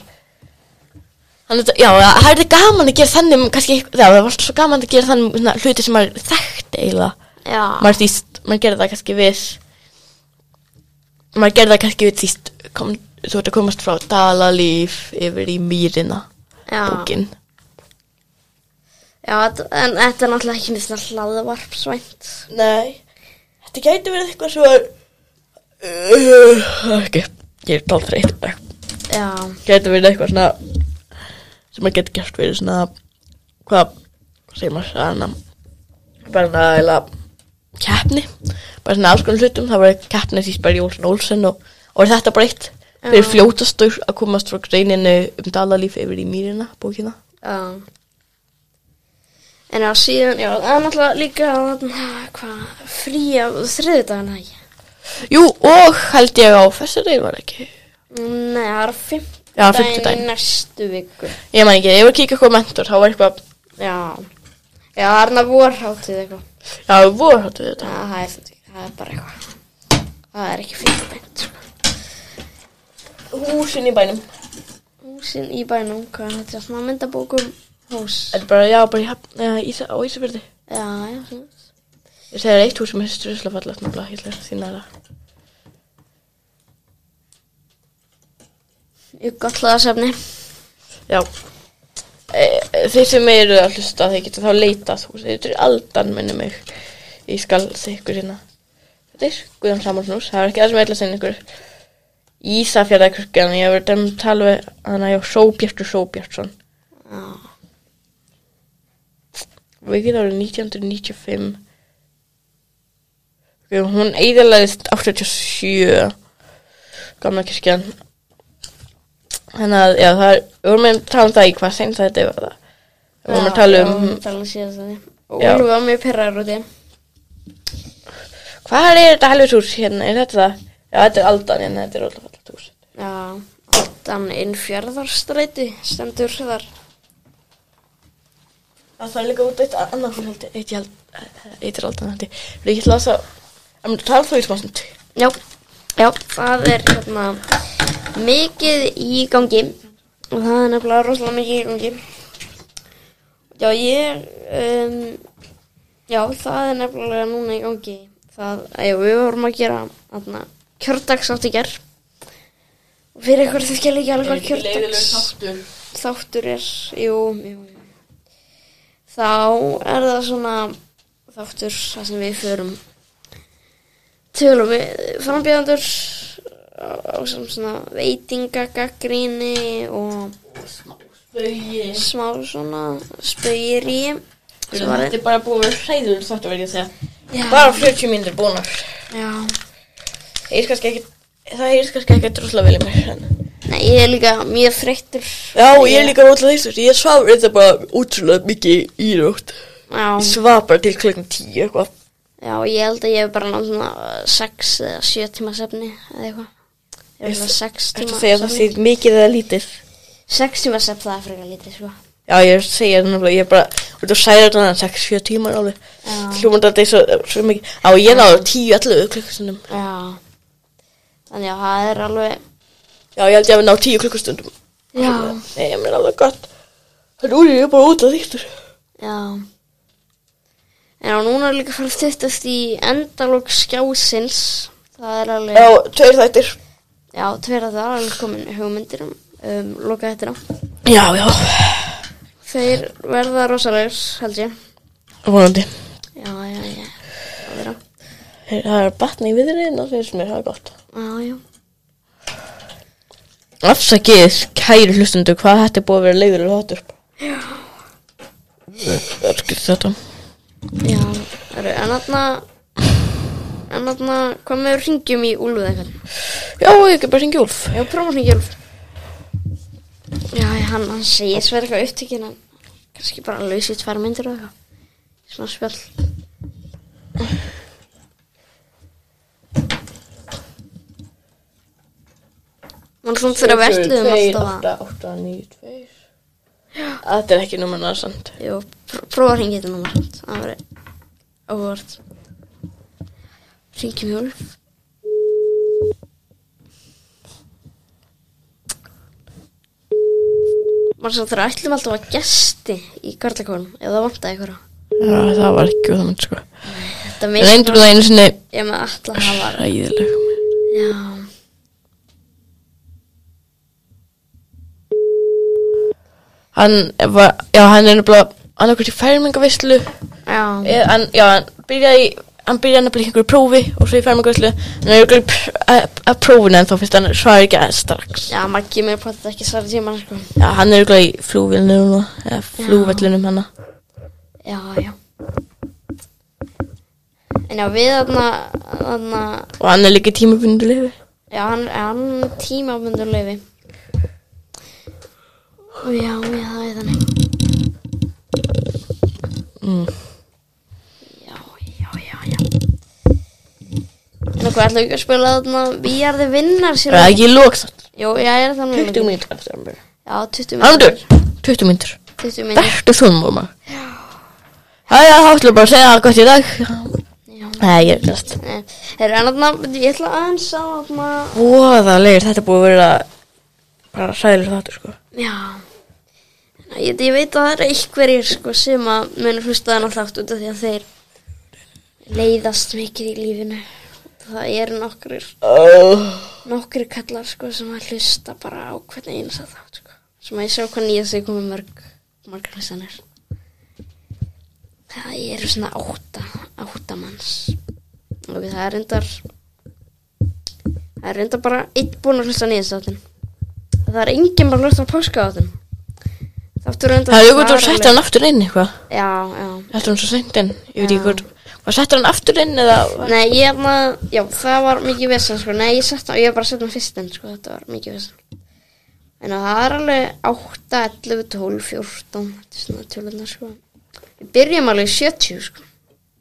Speaker 2: þannig að já, það það er þetta gaman að gera þannig kannski, já, það var alltaf svo gaman að gera þannig svona, hluti sem maður þekkt eiginlega
Speaker 1: já,
Speaker 2: maður þýst, maður gerði það kannski við maður gerði það kannski við þýst kom, þú ert að komast frá dalalíf yfir í mýrina
Speaker 1: já.
Speaker 2: bókin
Speaker 1: Já, þetta- en þetta er náttúrulega ekki nýtt hlaðvarpsvænt.
Speaker 2: Nei, þetta gæti verið eitthvað svo uh, ekki, ég er tólþreytt í dag.
Speaker 1: Já,
Speaker 2: Gæti verið eitthvað svona sem maður geti gert verið svona hvað, hvað segir maður svona bara nægilega keppni, bara svona alls konar hlutum það var keppni síst bara í Olsen Olsen og, og er þetta bara eitt
Speaker 1: Já.
Speaker 2: fyrir fljótastur að komast frá greininu um dalalíf yfir í mýrina bókina
Speaker 1: já. En já, síðan, já, það er náttúrulega líka, þarna, hvað, fría þriðdagana, ekki?
Speaker 2: Jú, og held ég á fessari var ekki
Speaker 1: Nei, það er fimmtudaginn
Speaker 2: Já, fimmtudaginn.
Speaker 1: í næstu viku.
Speaker 2: Ég man ekki, ég var að kíka eitthvað á mentor, þá var eitthvað
Speaker 1: Já, já, það er náttúrulega vorháttið eitthvað.
Speaker 2: Já, við vorum hátt við
Speaker 1: Já,
Speaker 2: þetta.
Speaker 1: það er, það er bara eitthvað. Það er ekki fimmtudaginn, sko.
Speaker 2: Húsin í bænum.
Speaker 1: Húsin í bænum, hvað er þetta? Svona myndabókum hús.
Speaker 2: Er bara, já, bara í, haf, ja, í, á Ísafjörði.
Speaker 1: Já, já, svona.
Speaker 2: Ég segir eitt hús sem er strusla fallast náttúrulega, ég ætla að sína það.
Speaker 1: Ég gott hlaðasefni.
Speaker 2: Já. E, þeir sem eru að hlusta, þeir geta þá leitað hús. Þeir eru aldan, minni mig. Ég skal segja ykkur hérna. Þetta er Guðan Samuelsnús, það er ekki það sem ég ætla að segja ykkur. Ísafjörða kirkjan, ég hefur dæmt að tala við hann að ég Sóbjartur Sóbjartson.
Speaker 1: Já.
Speaker 2: Vikið árið 1995 Ok, Hún eigðalæðist 87 Gamla kirkjan Þannig að, já, það er Við vorum að tala um það í hvað seint þetta var það Við vorum að tala um
Speaker 1: tala um síðast að þið. Og
Speaker 2: Já.
Speaker 1: Úlfi var mjög pyrraður út í.
Speaker 2: Hvað er þetta helvitús hérna, er þetta það? Já, þetta er aldan hérna, þetta er alltaf alltaf tús
Speaker 1: Já, aldan inn fjörðarstræti stendur þar.
Speaker 2: Það er líka út eitt annað hún haldi Eitt ég held Eitt er aldan haldi Ég ætla að það Það tala þú í smá stund
Speaker 1: Já, já, það er hérna mikið í gangi og það er nefnilega rosalega mikið í gangi. Já, ég, um, já, það er nefnilega núna í gangi. Það, já, við vorum að gera hérna, kjördagsþátt í gerð. Og Fyrir ykkur þið skilja ekki alveg hvað kjördags...
Speaker 2: þáttur
Speaker 1: þáttur er, jú, jú, jú. Þá er það svona þáttur þar sem við förum tölum við frambjöðandur á, á sem svona veitingagaggríni og
Speaker 2: Bögi
Speaker 1: smá svona spöyir í
Speaker 2: Þetta er bara búið að vera hræður um þáttu verið að segja.
Speaker 1: Já,
Speaker 2: Bara 40 mínútur búnar.
Speaker 1: já.
Speaker 2: Það er kannski ekki, það er kannski ekki droslega vel í mér. en-
Speaker 1: Nei, ég er líka mjög þreyttur
Speaker 2: Já, ég er líka rótla þessur. Ég svaf þetta bara útrúlega mikið í rótt. Ég
Speaker 1: já,
Speaker 2: svaf bara til klukkan 10 eitthvað.
Speaker 1: já, ég held að ég hef bara nátt svona 6 eða 7 tíma sefni eða eitthvað Ég hef
Speaker 2: Ertu-
Speaker 1: svona 6
Speaker 2: Þetta
Speaker 1: tíma
Speaker 2: segja að það sé mikið eða lítið.
Speaker 1: 6 tíma sepp það er frekar lítið sko
Speaker 2: Já, ég segja það nefnilega, ég er bara, og þú sæðir þetta þannig 6-7 tímar alveg,
Speaker 1: Já.
Speaker 2: hljóman þetta er svo, svo mikið, á ég náðu 10-11 klukkustundum,
Speaker 1: Já Þannig að það er alveg
Speaker 2: já, ég held ég að við náðu 10 klukkustundum,
Speaker 1: Já
Speaker 2: nei, ég meina alveg gott, þannig úr ég er bara út að þýttur.
Speaker 1: Já En á núna er líka fyrir 20 í endalók skjásins Það er alveg
Speaker 2: Já, tveir þættir.
Speaker 1: Já, tveir að það er alveg komin hugmyndir um, um loka þetta á
Speaker 2: Já, já,
Speaker 1: Þeir verða rosalegur, held ég
Speaker 2: vonandi,
Speaker 1: Já, já, já Það verða
Speaker 2: Hey, það er batna í viðriðin og finnst mér, það er gott.
Speaker 1: Já, já
Speaker 2: Afsakið, kæri hlustundu, hvað þetta er búið að vera leiðilega þáttur. Já. Það er skilt þetta.
Speaker 1: Já, eru, en aðna En aðna, hvað með ringjum í úlfið eitthvað?
Speaker 2: Já, ég er bara hringi Úlf.
Speaker 1: Já, prófa hringi úlf Já, ég- hann, hann segir svo eitthvað upptökin en kannski bara laus í tvær myndir og eitthvað Svona spjall Mann svona fyrir að verðlu um alltaf að
Speaker 2: 8, 8, 9, 2. Þetta er ekki númerna samt.
Speaker 1: Jú, pr prófa að ringi þetta númer samt. Það verður óvart Ringi mjög úlf Mann svo þegar ætlum alltaf að gesti í karlakónum ef það vantaði einhverja
Speaker 2: Já, það var ekki úr þannig, sko.
Speaker 1: Þetta
Speaker 2: Við reyndum það einu sinni
Speaker 1: ég með alla það var
Speaker 2: ræðileg.
Speaker 1: Já
Speaker 2: Hann var, já, hann er nefnilega, hann er okkur í færmingavislu.
Speaker 1: Já,
Speaker 2: Eh, Hann, já, hann byrjaði, í- hann byrjaði nefnilega í einhverju prófi og svo í færmingavislu. Hann er okkur í pr- að- að prófinu en þá finnst hann svarið ekki að strax.
Speaker 1: já Maggi mér potið ekki svar í tíman sko.
Speaker 2: Já, hann er okkur í flúvillinum núna, eða flúvellunum hann.
Speaker 1: Já, já En já, við þarna, þarna
Speaker 2: Og hann er líka í tímabundulegu.
Speaker 1: Já, hann, hann tímabundur leifi. Og já, já, það er þannig.
Speaker 2: Mm.
Speaker 1: Já, já, já, já. En hvað ætlum við ekki að spila þarna Výjarði vinnar sér?
Speaker 2: Það er ekki lók þátt.
Speaker 1: Jú, já, ég er þannig.
Speaker 2: 20 mínútur eftir að hann byrja.
Speaker 1: Já, 20
Speaker 2: Andur,
Speaker 1: mínútur.
Speaker 2: 20 mínútur.
Speaker 1: 20 mínútur.
Speaker 2: Bertu þunmóma. Já, já, þá ætlum við bara að segja það gott í dag.
Speaker 1: Já. Eh,
Speaker 2: Nei, ég er glast.
Speaker 1: Er en þarna, ég ætla aðeins að þarna,
Speaker 2: Voðalegur, þetta er búið að vera bara sælir þáttur, sko.
Speaker 1: já. Ná, Ég, ég veit að það eru einhverjir sko sem að munu hlusta þennan þátt út af því að þeir leiðast mikið í lífinu. Það eru nokkrir
Speaker 2: Oh.
Speaker 1: nokkri kallar sko sem að hlusta bara á hvernig eins að þátt sko. sem að ég sjá hvað nýja þau komið mörg margar hlustanir það eru svona átta átta manns og það er reyndar það er reyndar bara einn búinn að hlusta nýja þáttin það er enginn bara að hlusta á páska þáttin þáttur reyndar
Speaker 2: Það er ykkur þú
Speaker 1: svaraleg-
Speaker 2: settir hann aftur inn eitthvað.
Speaker 1: já, já
Speaker 2: Þetta er hann svo seint inn. Ég veit
Speaker 1: Já.
Speaker 2: ekki hvort, hvað settir hann aftur inn eða...
Speaker 1: Nei, ég er maður, já, það var mikið vesen, sko, nei, ég sett hann, ég er bara sett hann fyrst en, sko, þetta var mikið vesen. En það er alveg 8, 11, 12, 14, þetta er svona tjólunar, sko. Við byrjum alveg í 70, sko.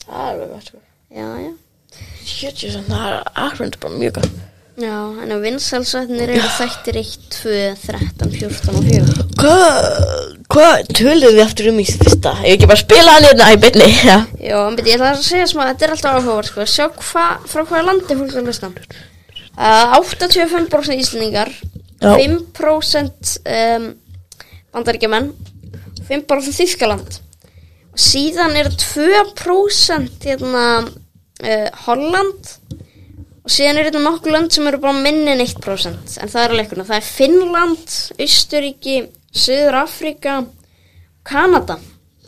Speaker 2: Það er alveg gott, sko.
Speaker 1: Já, já.
Speaker 2: 70 sem það er aðhverjandi bara mjög gott.
Speaker 1: Já, en á vinsalsvætnir eru þættir 1, 2, 13, 14 og 4.
Speaker 2: Hvað, hvað töluðu við aftur um í fyrsta? Ég ekki bara spila hann hérna í beinni, já.
Speaker 1: Já, en beti, ég ætla að segja smá, þetta er alltaf áhugaverð, sko, sjá hva, frá hvaða landi fólk er að hlusta. Uh, 85% íslendingar,
Speaker 2: Já.
Speaker 1: 5% um, bandaríkjumenn, 5% Þýskaland. Og síðan eru 2% hérna, uh, Holland og síðan eru hérna nokkuð lönd sem eru bara minni en 1%. En það er alveg eitthvað, það er Finnland, Austuríki, Suður Afrika, Kanada.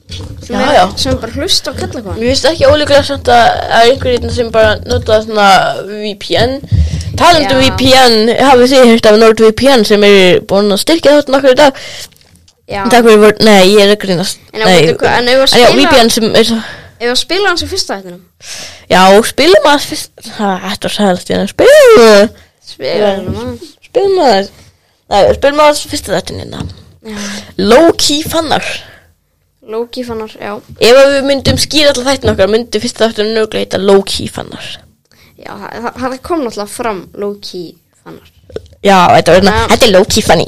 Speaker 1: Sem,
Speaker 2: Já,
Speaker 1: eru-
Speaker 2: já.
Speaker 1: sem er bara hlusta og kalla hvað.
Speaker 2: Mér finnst ekki ólíklega samt að það er einhver hérna sem bara notaði svona VPN Talandi um
Speaker 1: Já.
Speaker 2: VPN, hafið þið hérst af NordVPN sem er búin að styrkja þátt nokkur í dag
Speaker 1: Já.
Speaker 2: Takk fyrir voru, nei, ég er að grínast
Speaker 1: En
Speaker 2: Nei,
Speaker 1: veitu hvað, en ef að
Speaker 2: en já,
Speaker 1: spila-
Speaker 2: VPN sem er svo
Speaker 1: Ef að spila hans í fyrsta hættinum
Speaker 2: Já, spilum að fyrst Það ætti að sæðast ég Spilum að
Speaker 1: Spila hans aðeins
Speaker 2: Spilum að Nei, spilum að fyrsta þættin hérna
Speaker 1: Já.
Speaker 2: Low-key fannar
Speaker 1: Loki fannar, já
Speaker 2: Ef að við myndum skýra alltaf þættin okkar myndi fyrsta þættin nöglega heita Low-key fannar
Speaker 1: Já, það, það- það kom náttúrulega fram Loki fannar
Speaker 2: Já, þetta var hérna,
Speaker 1: Já.
Speaker 2: þetta er Loki Fanny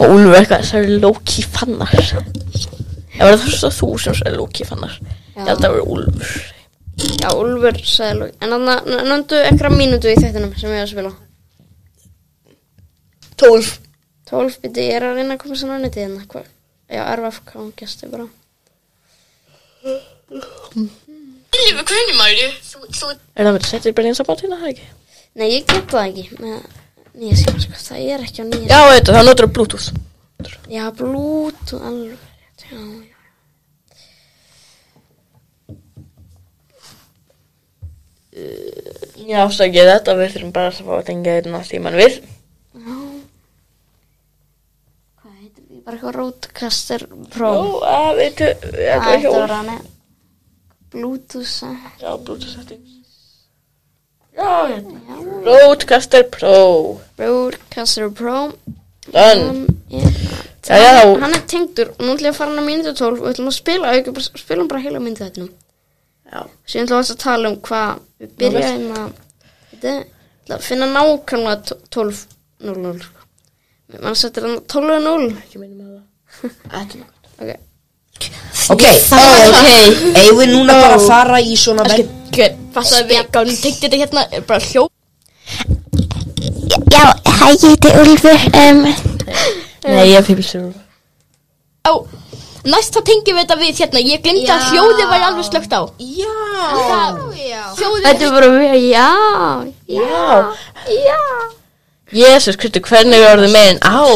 Speaker 2: Og Úlfur eitthvað, það eru Loki Fannar Það var þess að þú sem sagði Loki Fannar Ég held að það var Úlfur
Speaker 1: Já, Úlfur sagði Loki En þannig að nöndu einhverja mínútu í þettinum sem ég er að spila
Speaker 2: Tólf
Speaker 1: 12 biti, ég er að reyna að koma sér náni til hérna Hva- Já, RFK, hún gæsti bara
Speaker 4: Lífi, hvernig maður er þú? Þú
Speaker 2: Er það með settir bara eins að bátina, það hérna, ekki?
Speaker 1: Nei, ég get það ekki með nýja síma, sko, það er ekki á nýja
Speaker 2: Já, þetta, það notur Bluetooth
Speaker 1: Já, Bluetooth, alveg rétt, Já, já
Speaker 2: Já, afsakið þetta, við þurfum bara að fá að tengja hérna síman við
Speaker 1: Hvað heitir því? Bara eitthvað Roadcaster Pro
Speaker 2: Jó, að veitu, þetta
Speaker 1: Það
Speaker 2: er
Speaker 1: ætti
Speaker 2: ekki
Speaker 1: að
Speaker 2: úr
Speaker 1: vera með Bluetooth eh,
Speaker 2: Já, Bluetooth settings Já, hérna Roadcaster Pro
Speaker 1: Roadcaster Pro
Speaker 2: Done
Speaker 1: Hann er-
Speaker 2: Jæja, þá-
Speaker 1: Um, Hann er tengdur og nú ætlum ég að fara hann á mínútu 12 og við ætlum að spila, við bara, spilum bara heila myndið þetta
Speaker 2: Já
Speaker 1: Síðan ætlum við að tala um hvað við byrja
Speaker 2: veist.
Speaker 1: hérna Þetta er- ætla að finna nákvæmlega tó- 12.00 sko. Man settir hann 12.0
Speaker 2: Ekki minnum að það Ekki minnum
Speaker 1: Ok,
Speaker 5: Ok, ok Eigum við núna bara að fara í svona ven...
Speaker 2: Fattu að við gáðum tengt þetta hérna er bara hljó
Speaker 3: Já, hæ, ég heiti Úlfur. Um,
Speaker 2: Nei, ég fyrir sér
Speaker 4: Á, næst þá tengjum við þetta við hérna Ég glemdi að hljóðið væri alveg slögt á Já Hljóðið
Speaker 1: Þetta er bara mjög, já
Speaker 2: Já Jésus, hvernig, hvernig er orðið meginn á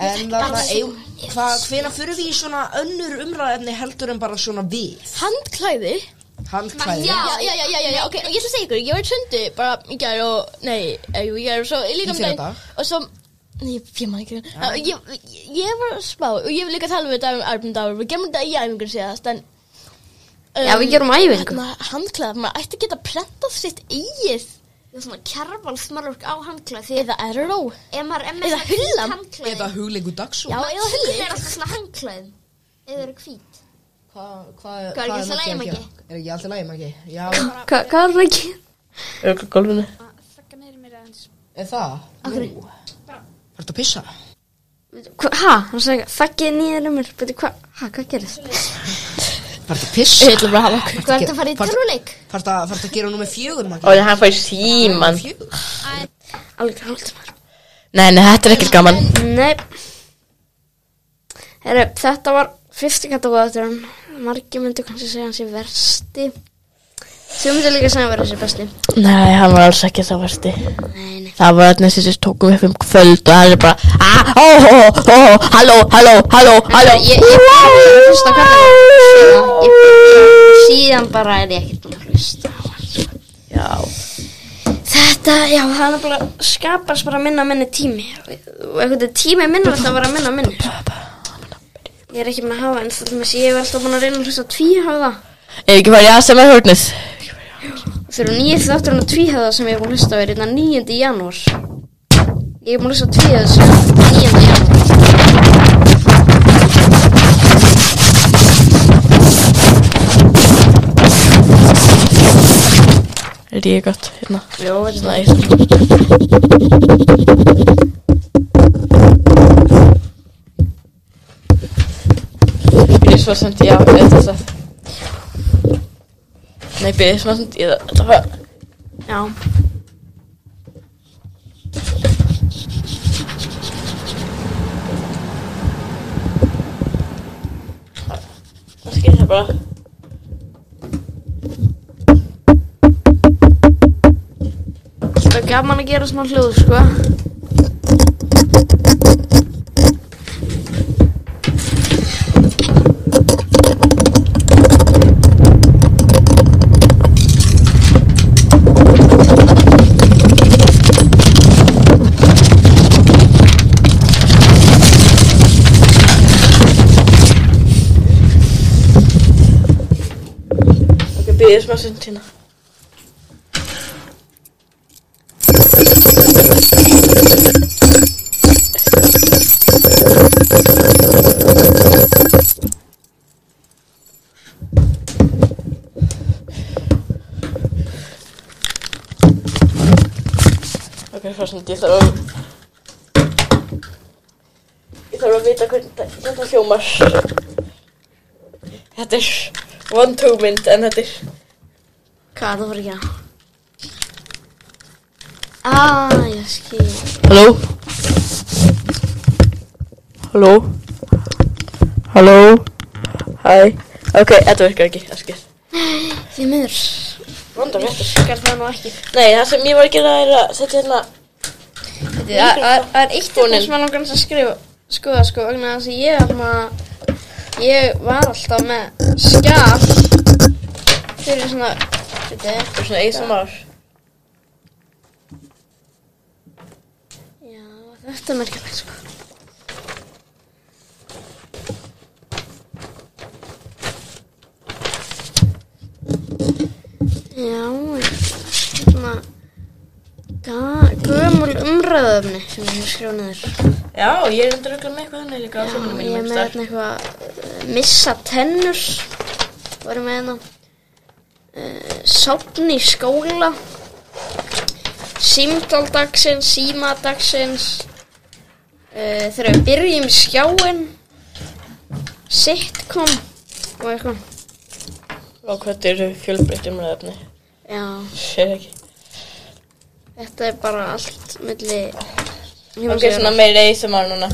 Speaker 5: En þarna eigum Hvað, hvena fyrir við í svona önnur umræðefni heldur en bara svona við
Speaker 4: Handklæði
Speaker 5: Handklæði
Speaker 4: Já, já, já, já, já, já, ok, ég ætla að segja ykkur, ég var í sundi bara í gær og, nei, eh, jú, í gær og svo líka um
Speaker 5: Í
Speaker 4: daginn
Speaker 5: fyrradag.
Speaker 4: og svo, nei, ég man ekki, ja. ég, ég, ég var að spá og ég vil líka tala um þetta um Arbjörn Dáur, við gerum þetta í æfingur síðast, en um,
Speaker 1: Já, við gerum æfingu.
Speaker 4: Handklæði, maður ætti að geta prentað sitt eigið
Speaker 6: Það er svona kjarvalsmörg á handklæð því
Speaker 4: eða eró,
Speaker 6: ef maður er
Speaker 4: Eða
Speaker 6: með
Speaker 4: hullan.
Speaker 6: handklæð
Speaker 5: Eða hugleiku dagsú
Speaker 4: já, eða
Speaker 6: Það er
Speaker 4: hulli,
Speaker 6: alltaf svona handklæð eða þau eru hvít
Speaker 5: Hvað
Speaker 6: Hvað
Speaker 5: hvað
Speaker 6: er
Speaker 5: hvað
Speaker 6: ekki allt í lagi,
Speaker 5: Maggi
Speaker 6: Maggi?
Speaker 5: að gera? Er ekki alltaf lægi magi? Já,
Speaker 1: Hva, Hvað er það ekki?
Speaker 2: Er okkur gólfinu?
Speaker 5: er það? Akkur Var þetta að pissa?
Speaker 1: Hva- Ha, hann sagði, þakkið nýður um mér Beti, hva, ha, hvað gerist?
Speaker 5: Var þetta að pissa?
Speaker 2: ætla bara að hafa okkur
Speaker 6: Hvað er það að fara í
Speaker 5: Hvað-
Speaker 6: tölvuleik?
Speaker 5: Var þetta var þetta að gera nummer fjögur magi?
Speaker 2: Og það hann fær síman
Speaker 5: Fjögur?
Speaker 1: Alveg hálft maður
Speaker 2: Nei, nei, þetta er ekkert gaman
Speaker 1: Nei Herru, þetta var fyrsti kategóðaturinn Margi myndi kannski segja hans í versti Þú myndi líka segja hann verið þessi besti
Speaker 2: Nei, hann var alls ekki það versti
Speaker 1: Nei, nei
Speaker 2: Það var þarna sem þessi tókum upp um kvöld og hann er bara Ah, ó, ó, ó, ó, halló, halló, halló, halló
Speaker 1: Ég- ég- ég- ég- fyrsta kategóri. Síðan bara er ég ekkert búin að hlusta á hann, sko.
Speaker 2: Já
Speaker 1: Þetta, já, það er nefnilega skapast bara minna og minni tími og einhvern veginn tími minna alltaf bara minna og minni Ég er ekki með að hafa en það með ég er alltaf búin að reyna að hlusta á tvíhöfða
Speaker 2: Ef ekki farið að sem er hórnið
Speaker 1: Þegar nýjið þátturinn á tvíhöfða sem ég er búin að hlusta á er hérna 9. janúar Ég er búin að hlusta á tvíhöfða sem er 9. janúar
Speaker 2: Er ég gott hérna?
Speaker 1: Jó, þetta
Speaker 2: Nei Byrði svo semt já Þetta það Nei, byrði svo semt ég Þetta var
Speaker 1: Já
Speaker 2: Það skil það bara
Speaker 1: Það er gaman að gera svona hljóð, sko
Speaker 2: Ok, byrði svo semt hérna mynd, ég þarf að Ég þarf að vita hvernig þetta- þetta hljómar Þetta er one two mynd en þetta er
Speaker 1: Hvað er það fyrir ekki? Ah, ég skil.
Speaker 2: Halló Halló Halló Hæ Ok, þetta virkar ekki, það skil
Speaker 1: Því miður.
Speaker 2: Vanda með þetta
Speaker 1: Virkar það nú ekki.
Speaker 2: Nei, það sem ég var að gera er að setja hérna
Speaker 1: Það það- það er eitt
Speaker 2: Fónin.
Speaker 1: eitthvað sem að langar hans að skrifa. Skoða, sko, vegna þess að ég, hana, ég var alltaf með skjál fyrir svona, veitu,
Speaker 2: Þetta er svona ASMR
Speaker 1: já, þetta er merkjulegt, sko. Já, svona ga- gömul umræðöfni sem ég hef skrifað niður.
Speaker 2: Já, ég er endur örugglega með eitthvað þannig líka á sjómanum
Speaker 1: Ég er
Speaker 2: mínum
Speaker 1: með
Speaker 2: einhvers
Speaker 1: hérna eitthvað eh, missa tennur varum með hérna uh, sopn í skóla símdaldagsins símadagsins uh, þegar við byrjum í skjáin sitcom og eitthvað
Speaker 2: staðar. Og hvað eru fjölbreytt umræðefni
Speaker 1: já,
Speaker 2: Sér ekki
Speaker 1: þetta er bara allt milli
Speaker 2: Ok, svona meira ASMR núna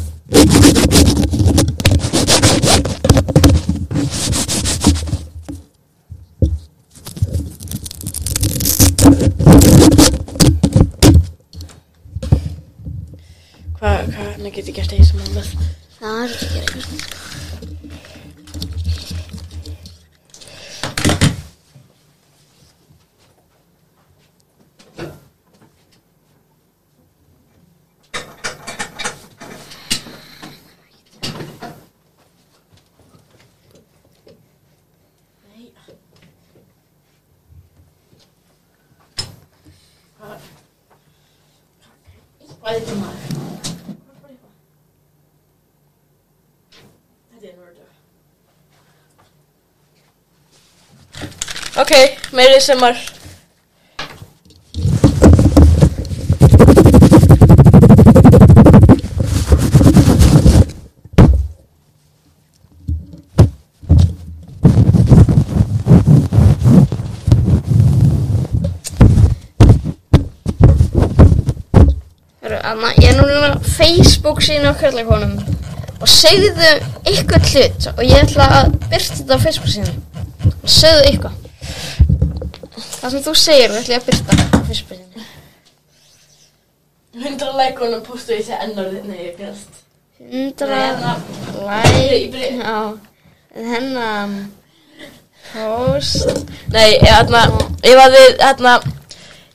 Speaker 2: Hvað, hvað, hvernig get ég gert ASMR með?
Speaker 1: það er ekki að gera
Speaker 2: Hvað er þetta maður? Hvað er þetta? Þetta er nördur Ok, meiri sem var
Speaker 1: Heru, Anna, ég er núna á Facebook síðan á kærleikonum og segðu ykkur hlut og ég ætla að byrta þetta á Facebook síðan og segðu ykkur það sem þú segir og ætla ég að byrta á Facebook síðan
Speaker 2: 100 leikunum postu ég sé ennörðið Nei, ég hérna. gerst
Speaker 1: 100 like á þennan post
Speaker 2: Nei, ég- hérna, ef að við, hérna,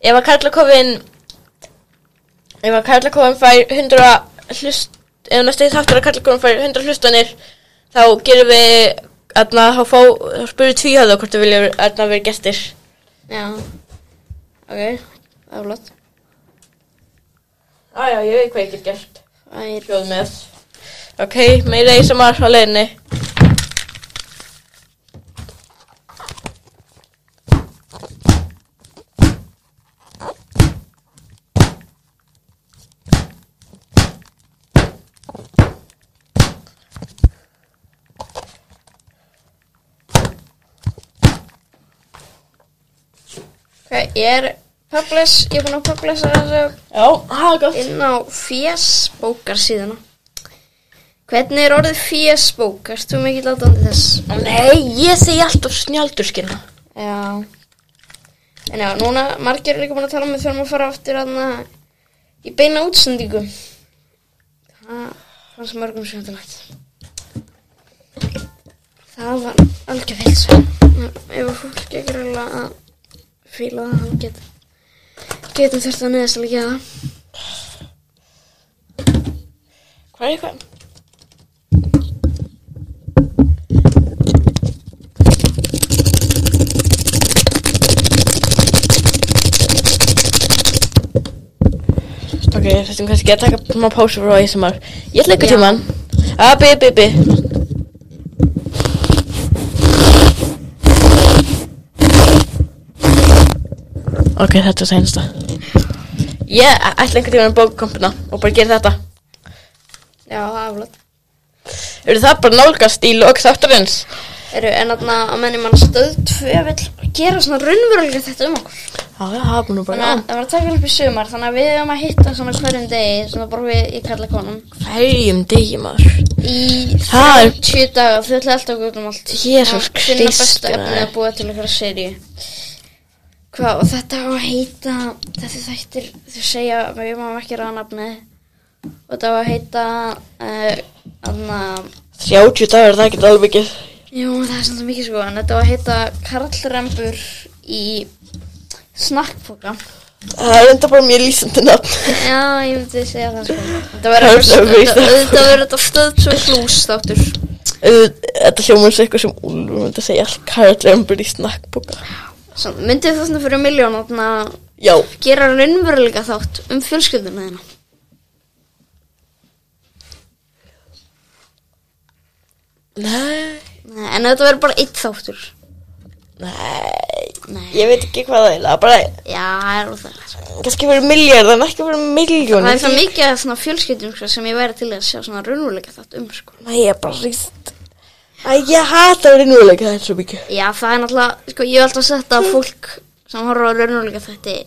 Speaker 2: ef að Karlakofin, ef að Karlakofin fær 100 hlust, ef næstu þáttur að Karlakofin fær 100 hlustanir, þá gerum við, hérna, þá fá, þá spyrir tvíhöða hvort þú vilja, hérna, verið gestir.
Speaker 1: já ok, það er flott
Speaker 2: Á já, ég veit hvað ég get gert.
Speaker 1: það er
Speaker 2: Fjóð með. Ok, meira í samar á leiðinni.
Speaker 1: ok, ég er publish, ég er búin að publisha þessu
Speaker 2: Já, það er gott.
Speaker 1: inn á fjesbókar síðana Hvernig er orðið fjesbók? Erst þú mikið látandi þess?
Speaker 2: Nei, ég segi alltaf snjaldurskina.
Speaker 1: Já En já, núna, margir er líka búin að tala um við þurfum að fara aftur aðna í beina útsendingu Það fannst mörgum skemmtilegt Það var algjör hilsa Ef að fólk ekki reyla að fíla það, hann get getum þurft að neðast að líka það
Speaker 2: Hvað er eitthvað? Ok, við þurfum kannski að taka smá pásu frá ASMR. Ég ætla eitthvað tíman. Ah, bi, bi, bi. Ok, þetta er sænsta. Ég ætla einhvern tímann að bóka kompuna og bara gera þetta.
Speaker 1: Já, það er flott.
Speaker 2: Eru það bara nálgast í lok þáttarins?
Speaker 1: Eru, en þarna að menni mann stöð tvö vill gera svona raunverulega þetta um okkur.
Speaker 2: Já, já, það er búin að
Speaker 1: Þannig að það var að taka upp í sumar, þannig að við höfum að hitta svona hverjum degi, svona bara við í kalla konum.
Speaker 2: Hverjum degi maður?
Speaker 1: Í
Speaker 2: Það er-
Speaker 1: 30 daga, þau ætla alltaf að gott um allt.
Speaker 2: Jesús
Speaker 1: Að Finna
Speaker 2: Kristur,
Speaker 1: besta efni
Speaker 2: maður.
Speaker 1: að búa til einhverja seríu. Hvað, og þetta á að heita, þessi þættir, þau segja, við máum ekki ráða nafnið. Og þetta á að heita, uh, anna,
Speaker 2: 30 dagar, það getur alveg ekki.
Speaker 1: jú, það er svolítið mikið sko, en þetta á að heita Karlrembur í snakkpoka.
Speaker 2: Það er enda bara mjög lýsandi nafn.
Speaker 1: Já, ég myndi segja það sko Þetta verður
Speaker 2: Það er
Speaker 1: þetta-
Speaker 2: það.
Speaker 1: þetta verður þetta stöðsvei hlús þáttur
Speaker 2: Auð- Þetta hljóma eins og eitthvað sem Úlfur myndi að segja Karlrembur í snakkbúka.
Speaker 1: Svo, Myndið þú svona fyrir miljón að
Speaker 2: Já,
Speaker 1: gera raunveruleika þátt um fjölskylduna þína
Speaker 2: nei,
Speaker 1: Nei, En þetta verður bara eitt þáttur
Speaker 2: nei,
Speaker 1: Nei,
Speaker 2: ég veit ekki hvað það er, það er bara,
Speaker 1: já, það er óþægilegt sko.
Speaker 2: kannski fyrir miljard, en ekki fyrir miljón.
Speaker 1: Það er það mikið af svona fjölskyldum sko, sem ég væri til að sjá svona raunveruleika þátt um sko
Speaker 2: Nei, ég er bara ríst. Æ, ég hata raunveruleika, það er svo mikið.
Speaker 1: Já, það er náttúrulega, sko, ég hef alltaf sett að fólk sem horfa á raunveruleika þætti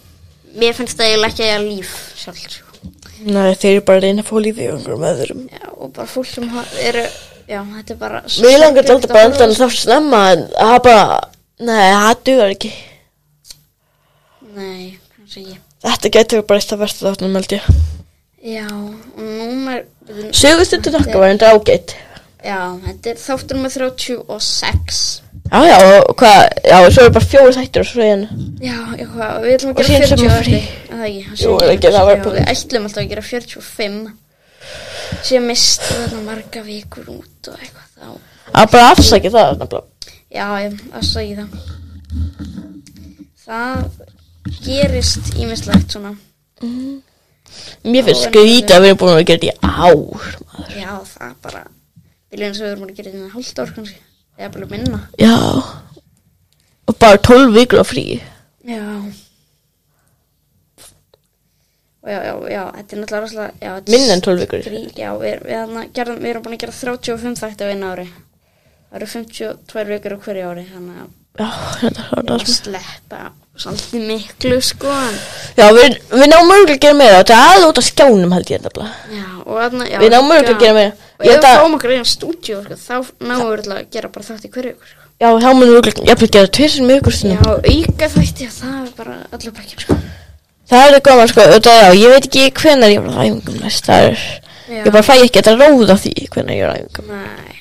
Speaker 1: Mér finnst það eiginlega ekki að ég að líf sjálf sko
Speaker 2: Nei, þeir eru bara að reyna að fá lífið í einhverjum öðrum.
Speaker 1: Já, og bara fólk sem ha- eru, já, þetta er bara
Speaker 2: Mér langar þetta bara
Speaker 1: Þetta er
Speaker 2: endan þá snemma, en það er bara, nei, það dugar ekki.
Speaker 1: Nei, kannski ekki.
Speaker 2: Þetta getur bara eitt að versta þáttunum, held ég.
Speaker 1: Já, og númer...
Speaker 2: Sögustundin okkar var enda ágætt.
Speaker 1: Já, þetta er þáttur með 36.
Speaker 2: Já, já, og hvað, já, svo eru bara fjóri þættur og svo reyna.
Speaker 1: Já, eitthvað, við ætlum að
Speaker 2: Og
Speaker 1: gera
Speaker 2: síðan
Speaker 1: 40
Speaker 2: sem
Speaker 1: og
Speaker 2: er frí.
Speaker 1: Er það ekki?
Speaker 2: Jú, er ekki, það var
Speaker 1: Já,
Speaker 2: bara-
Speaker 1: Við ætlum alltaf að gera 45. Sér mistu þarna marga vikur út og eitthvað þá.
Speaker 2: Það er bara afsakið það, nefnilega.
Speaker 1: Já, ég aðsa í það. Það gerist ímislegt svona.
Speaker 2: Mér finnst
Speaker 1: Já, en-
Speaker 2: skrítið að við erum búin að gera þetta í ár. maður.
Speaker 1: Já, það er bara... Viljum eins og við erum að gera þetta í hálft ár kannski. Eða bara minna.
Speaker 2: Já. Og bara 12 vikur á frí.
Speaker 1: Já Og Já, já, já, þetta er náttúrulega rosalega já, þetta er
Speaker 2: Minna en 12 vikur.
Speaker 1: skrí- Já, við, við, þarna gerðum, við erum búin að gera 35 þætti á einu ári Það eru 52 vikur á hverju ári Þannig að
Speaker 2: Já, þetta er
Speaker 1: það
Speaker 2: svona.
Speaker 1: sleppa svolítið miklu sko en,
Speaker 2: Já, við, við náum mörgulega að gera meira. Þetta er aðlóta skjánum held ég nefnilega.
Speaker 1: Já, og þarna já,
Speaker 2: Við náum mörgulega
Speaker 1: já.
Speaker 2: að gera meira.
Speaker 1: Og
Speaker 2: Ég
Speaker 1: ef
Speaker 2: held
Speaker 1: við
Speaker 2: að,
Speaker 1: fáum okkur einu stúdíu sko, þá náum við örugglega að gera bara þátt í hverju vikur sko.
Speaker 2: já, þá munum við jafnvel gera tveir sem ykkur
Speaker 1: Já,
Speaker 2: sinum.
Speaker 1: auka þætti og það er bara allir bakkjum sko.
Speaker 2: Það er gaman sko, þetta já, ég veit ekki hvenar ég var á æfingum næst. Það er,
Speaker 1: Já.
Speaker 2: ég bara fæ ekki þetta róða því hvenar ég var á æfingum.
Speaker 1: Nei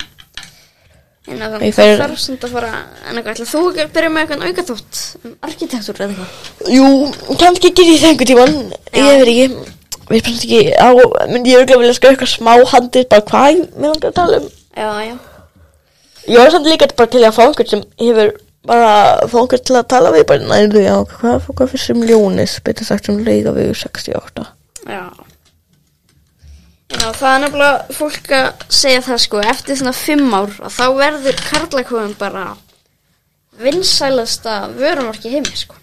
Speaker 1: En að
Speaker 2: Ég
Speaker 1: þannig
Speaker 2: fer-
Speaker 1: það þarf samt að fara En eitthvað, ætla þú ekki að byrja með eitthvað auka þótt um arkitektúr eða eitthvað
Speaker 2: Jú, kannski gerir ég það einhvern tíman. Ég veit ekki, við erum ekki, á, myndi ég örgulega vilja sko eitthvað smá handið, bara hvað ég mig langar að tala um.
Speaker 1: Já, já,
Speaker 2: Ég var samt líka bara til að fá einhvern sem hefur bara fá einhvern til að tala við bara nærðu, já, hvað, hvað fyrst sem ljónis, betur sagt um sem leiða við 68.
Speaker 1: já Já, það er nefnilega fólk að segja það sko Eftir svona fimm ár að þá verður karlakofum bara vinsælasta vörumarki heimi sko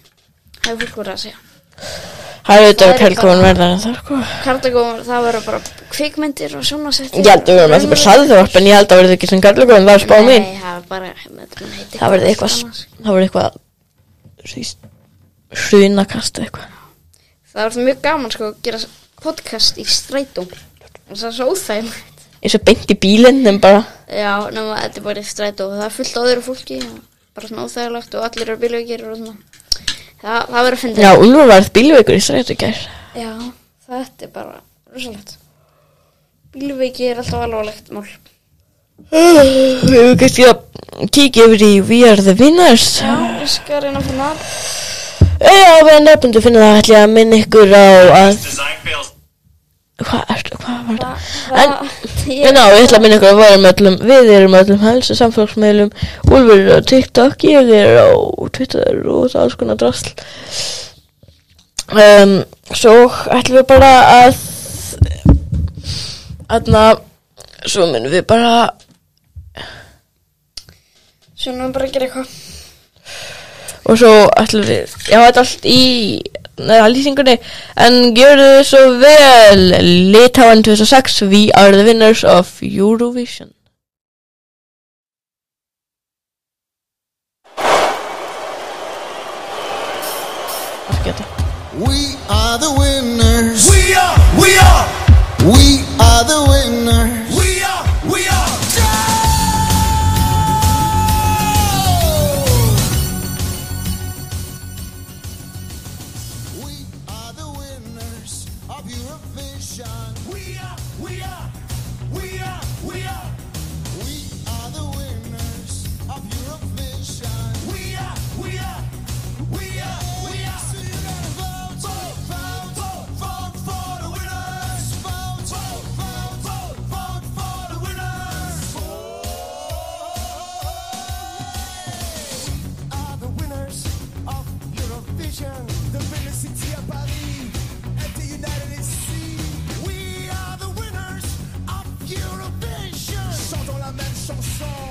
Speaker 1: Það er fólk voru að segja
Speaker 2: Það er
Speaker 1: Það
Speaker 2: auðvitað
Speaker 1: er
Speaker 2: að kelkóin verða en það, sko.
Speaker 1: Karlakofum, það verður bara kvikmyndir og svona sett
Speaker 2: Ég held að við verðum ekki bara saðvörp, en ég held að verði ekki sem kelkóin, það er spá mín.
Speaker 1: Nei, það er bara, þetta mun heiti
Speaker 2: Það verði eitthvað,
Speaker 1: allt annað, sko.
Speaker 2: það verði eitthvað, síst, hrunakast eða eitthvað.
Speaker 1: Það var mjög gaman sko að gera podcast í strætó En það er svo óþægilegt
Speaker 2: Eins og beint í bílinn, en bara,
Speaker 1: Já, nema þetta er bara í strætó og Það er fullt á öðru fólki og Bara svona óþægilegt og allir eru bílugir og svona Það, það verður að finna
Speaker 2: já, Ulfur varð bílveikur í strætu í gær.
Speaker 1: Já, þetta er bara rosalegt Bílveiki er alltaf alvarlegt mál
Speaker 2: Við höfum kannski að kíkja yfir í We Are The Winners.
Speaker 1: Já, ég skal reyna að finna það
Speaker 2: Já, við erum nefnum að finna það ætla ég að minna ykkur á að
Speaker 7: design fails
Speaker 2: Hvað er, hvað var það? En,
Speaker 1: Það-
Speaker 2: en á, ég ætla að minna ykkur að við erum öllum, við erum öllum helstu samfélagsmeilum, Úlfur er á TikTok, ég er á Twitter og það alls konar drasl. Um, svo ætlum við bara að, aðna, svo minnum við bara,
Speaker 1: Svo nú bara að gera eitthvað
Speaker 2: og svo ætlum við, já, þetta er allt í neða, lýsingunni en gjörðu þið svo vel Litáin 2006 We are the winners of Eurovision Afgjöta
Speaker 7: We are the winners.
Speaker 8: We are, we are,
Speaker 7: We are the winners.
Speaker 8: we are, we are.
Speaker 7: We are the winners of Eurovision.
Speaker 8: We are, we are, we are, we are,
Speaker 7: We are the winners of Eurovision.
Speaker 8: we are, we are, we are, we are. So you gotta vote, vote, vote, vote, vote for the winners. Vote, vote, vote, vote, vote for the winners. We are the winners of Eurovision. The winner city of Paris at the United Sea. We are the winners of Eurovision. Chantons la même chanson.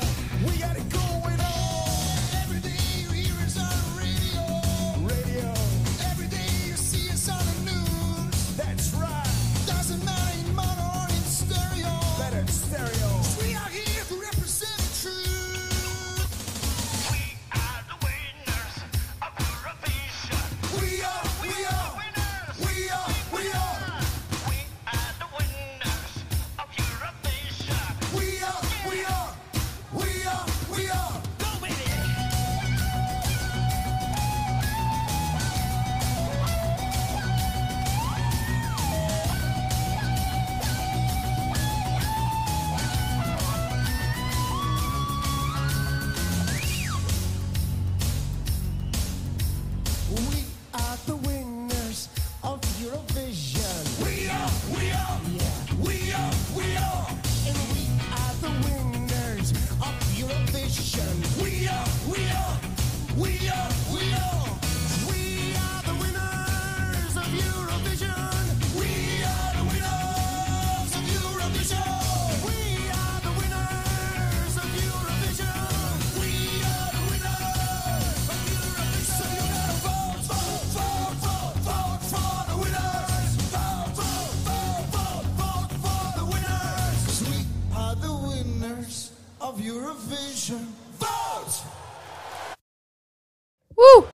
Speaker 8: We got it going on. Every day you hear us on radio. Radio. Every day you see us on the news. That's right. Doesn't matter in mono or in stereo. Better stereo. We are here to represent the truth. We are, we are, we are, we are, we are, we are, we are, we are.
Speaker 7: We are the winners of Eurovision.
Speaker 8: We are, we are, we are, we are,
Speaker 7: And we are the winners of Eurovision.
Speaker 8: we are, we are, we are, we are. We are the winners of Eurovision. We are the winners of Eurovision. We are the winners of Eurovision. We are the winners of Eurovision. So you gotta vote, vote, vote, vote, vote for the winners. Vote, vote, vote, vote, vote for the winners.
Speaker 7: We are the winners of Eurovision.
Speaker 8: Vote!
Speaker 2: Woo!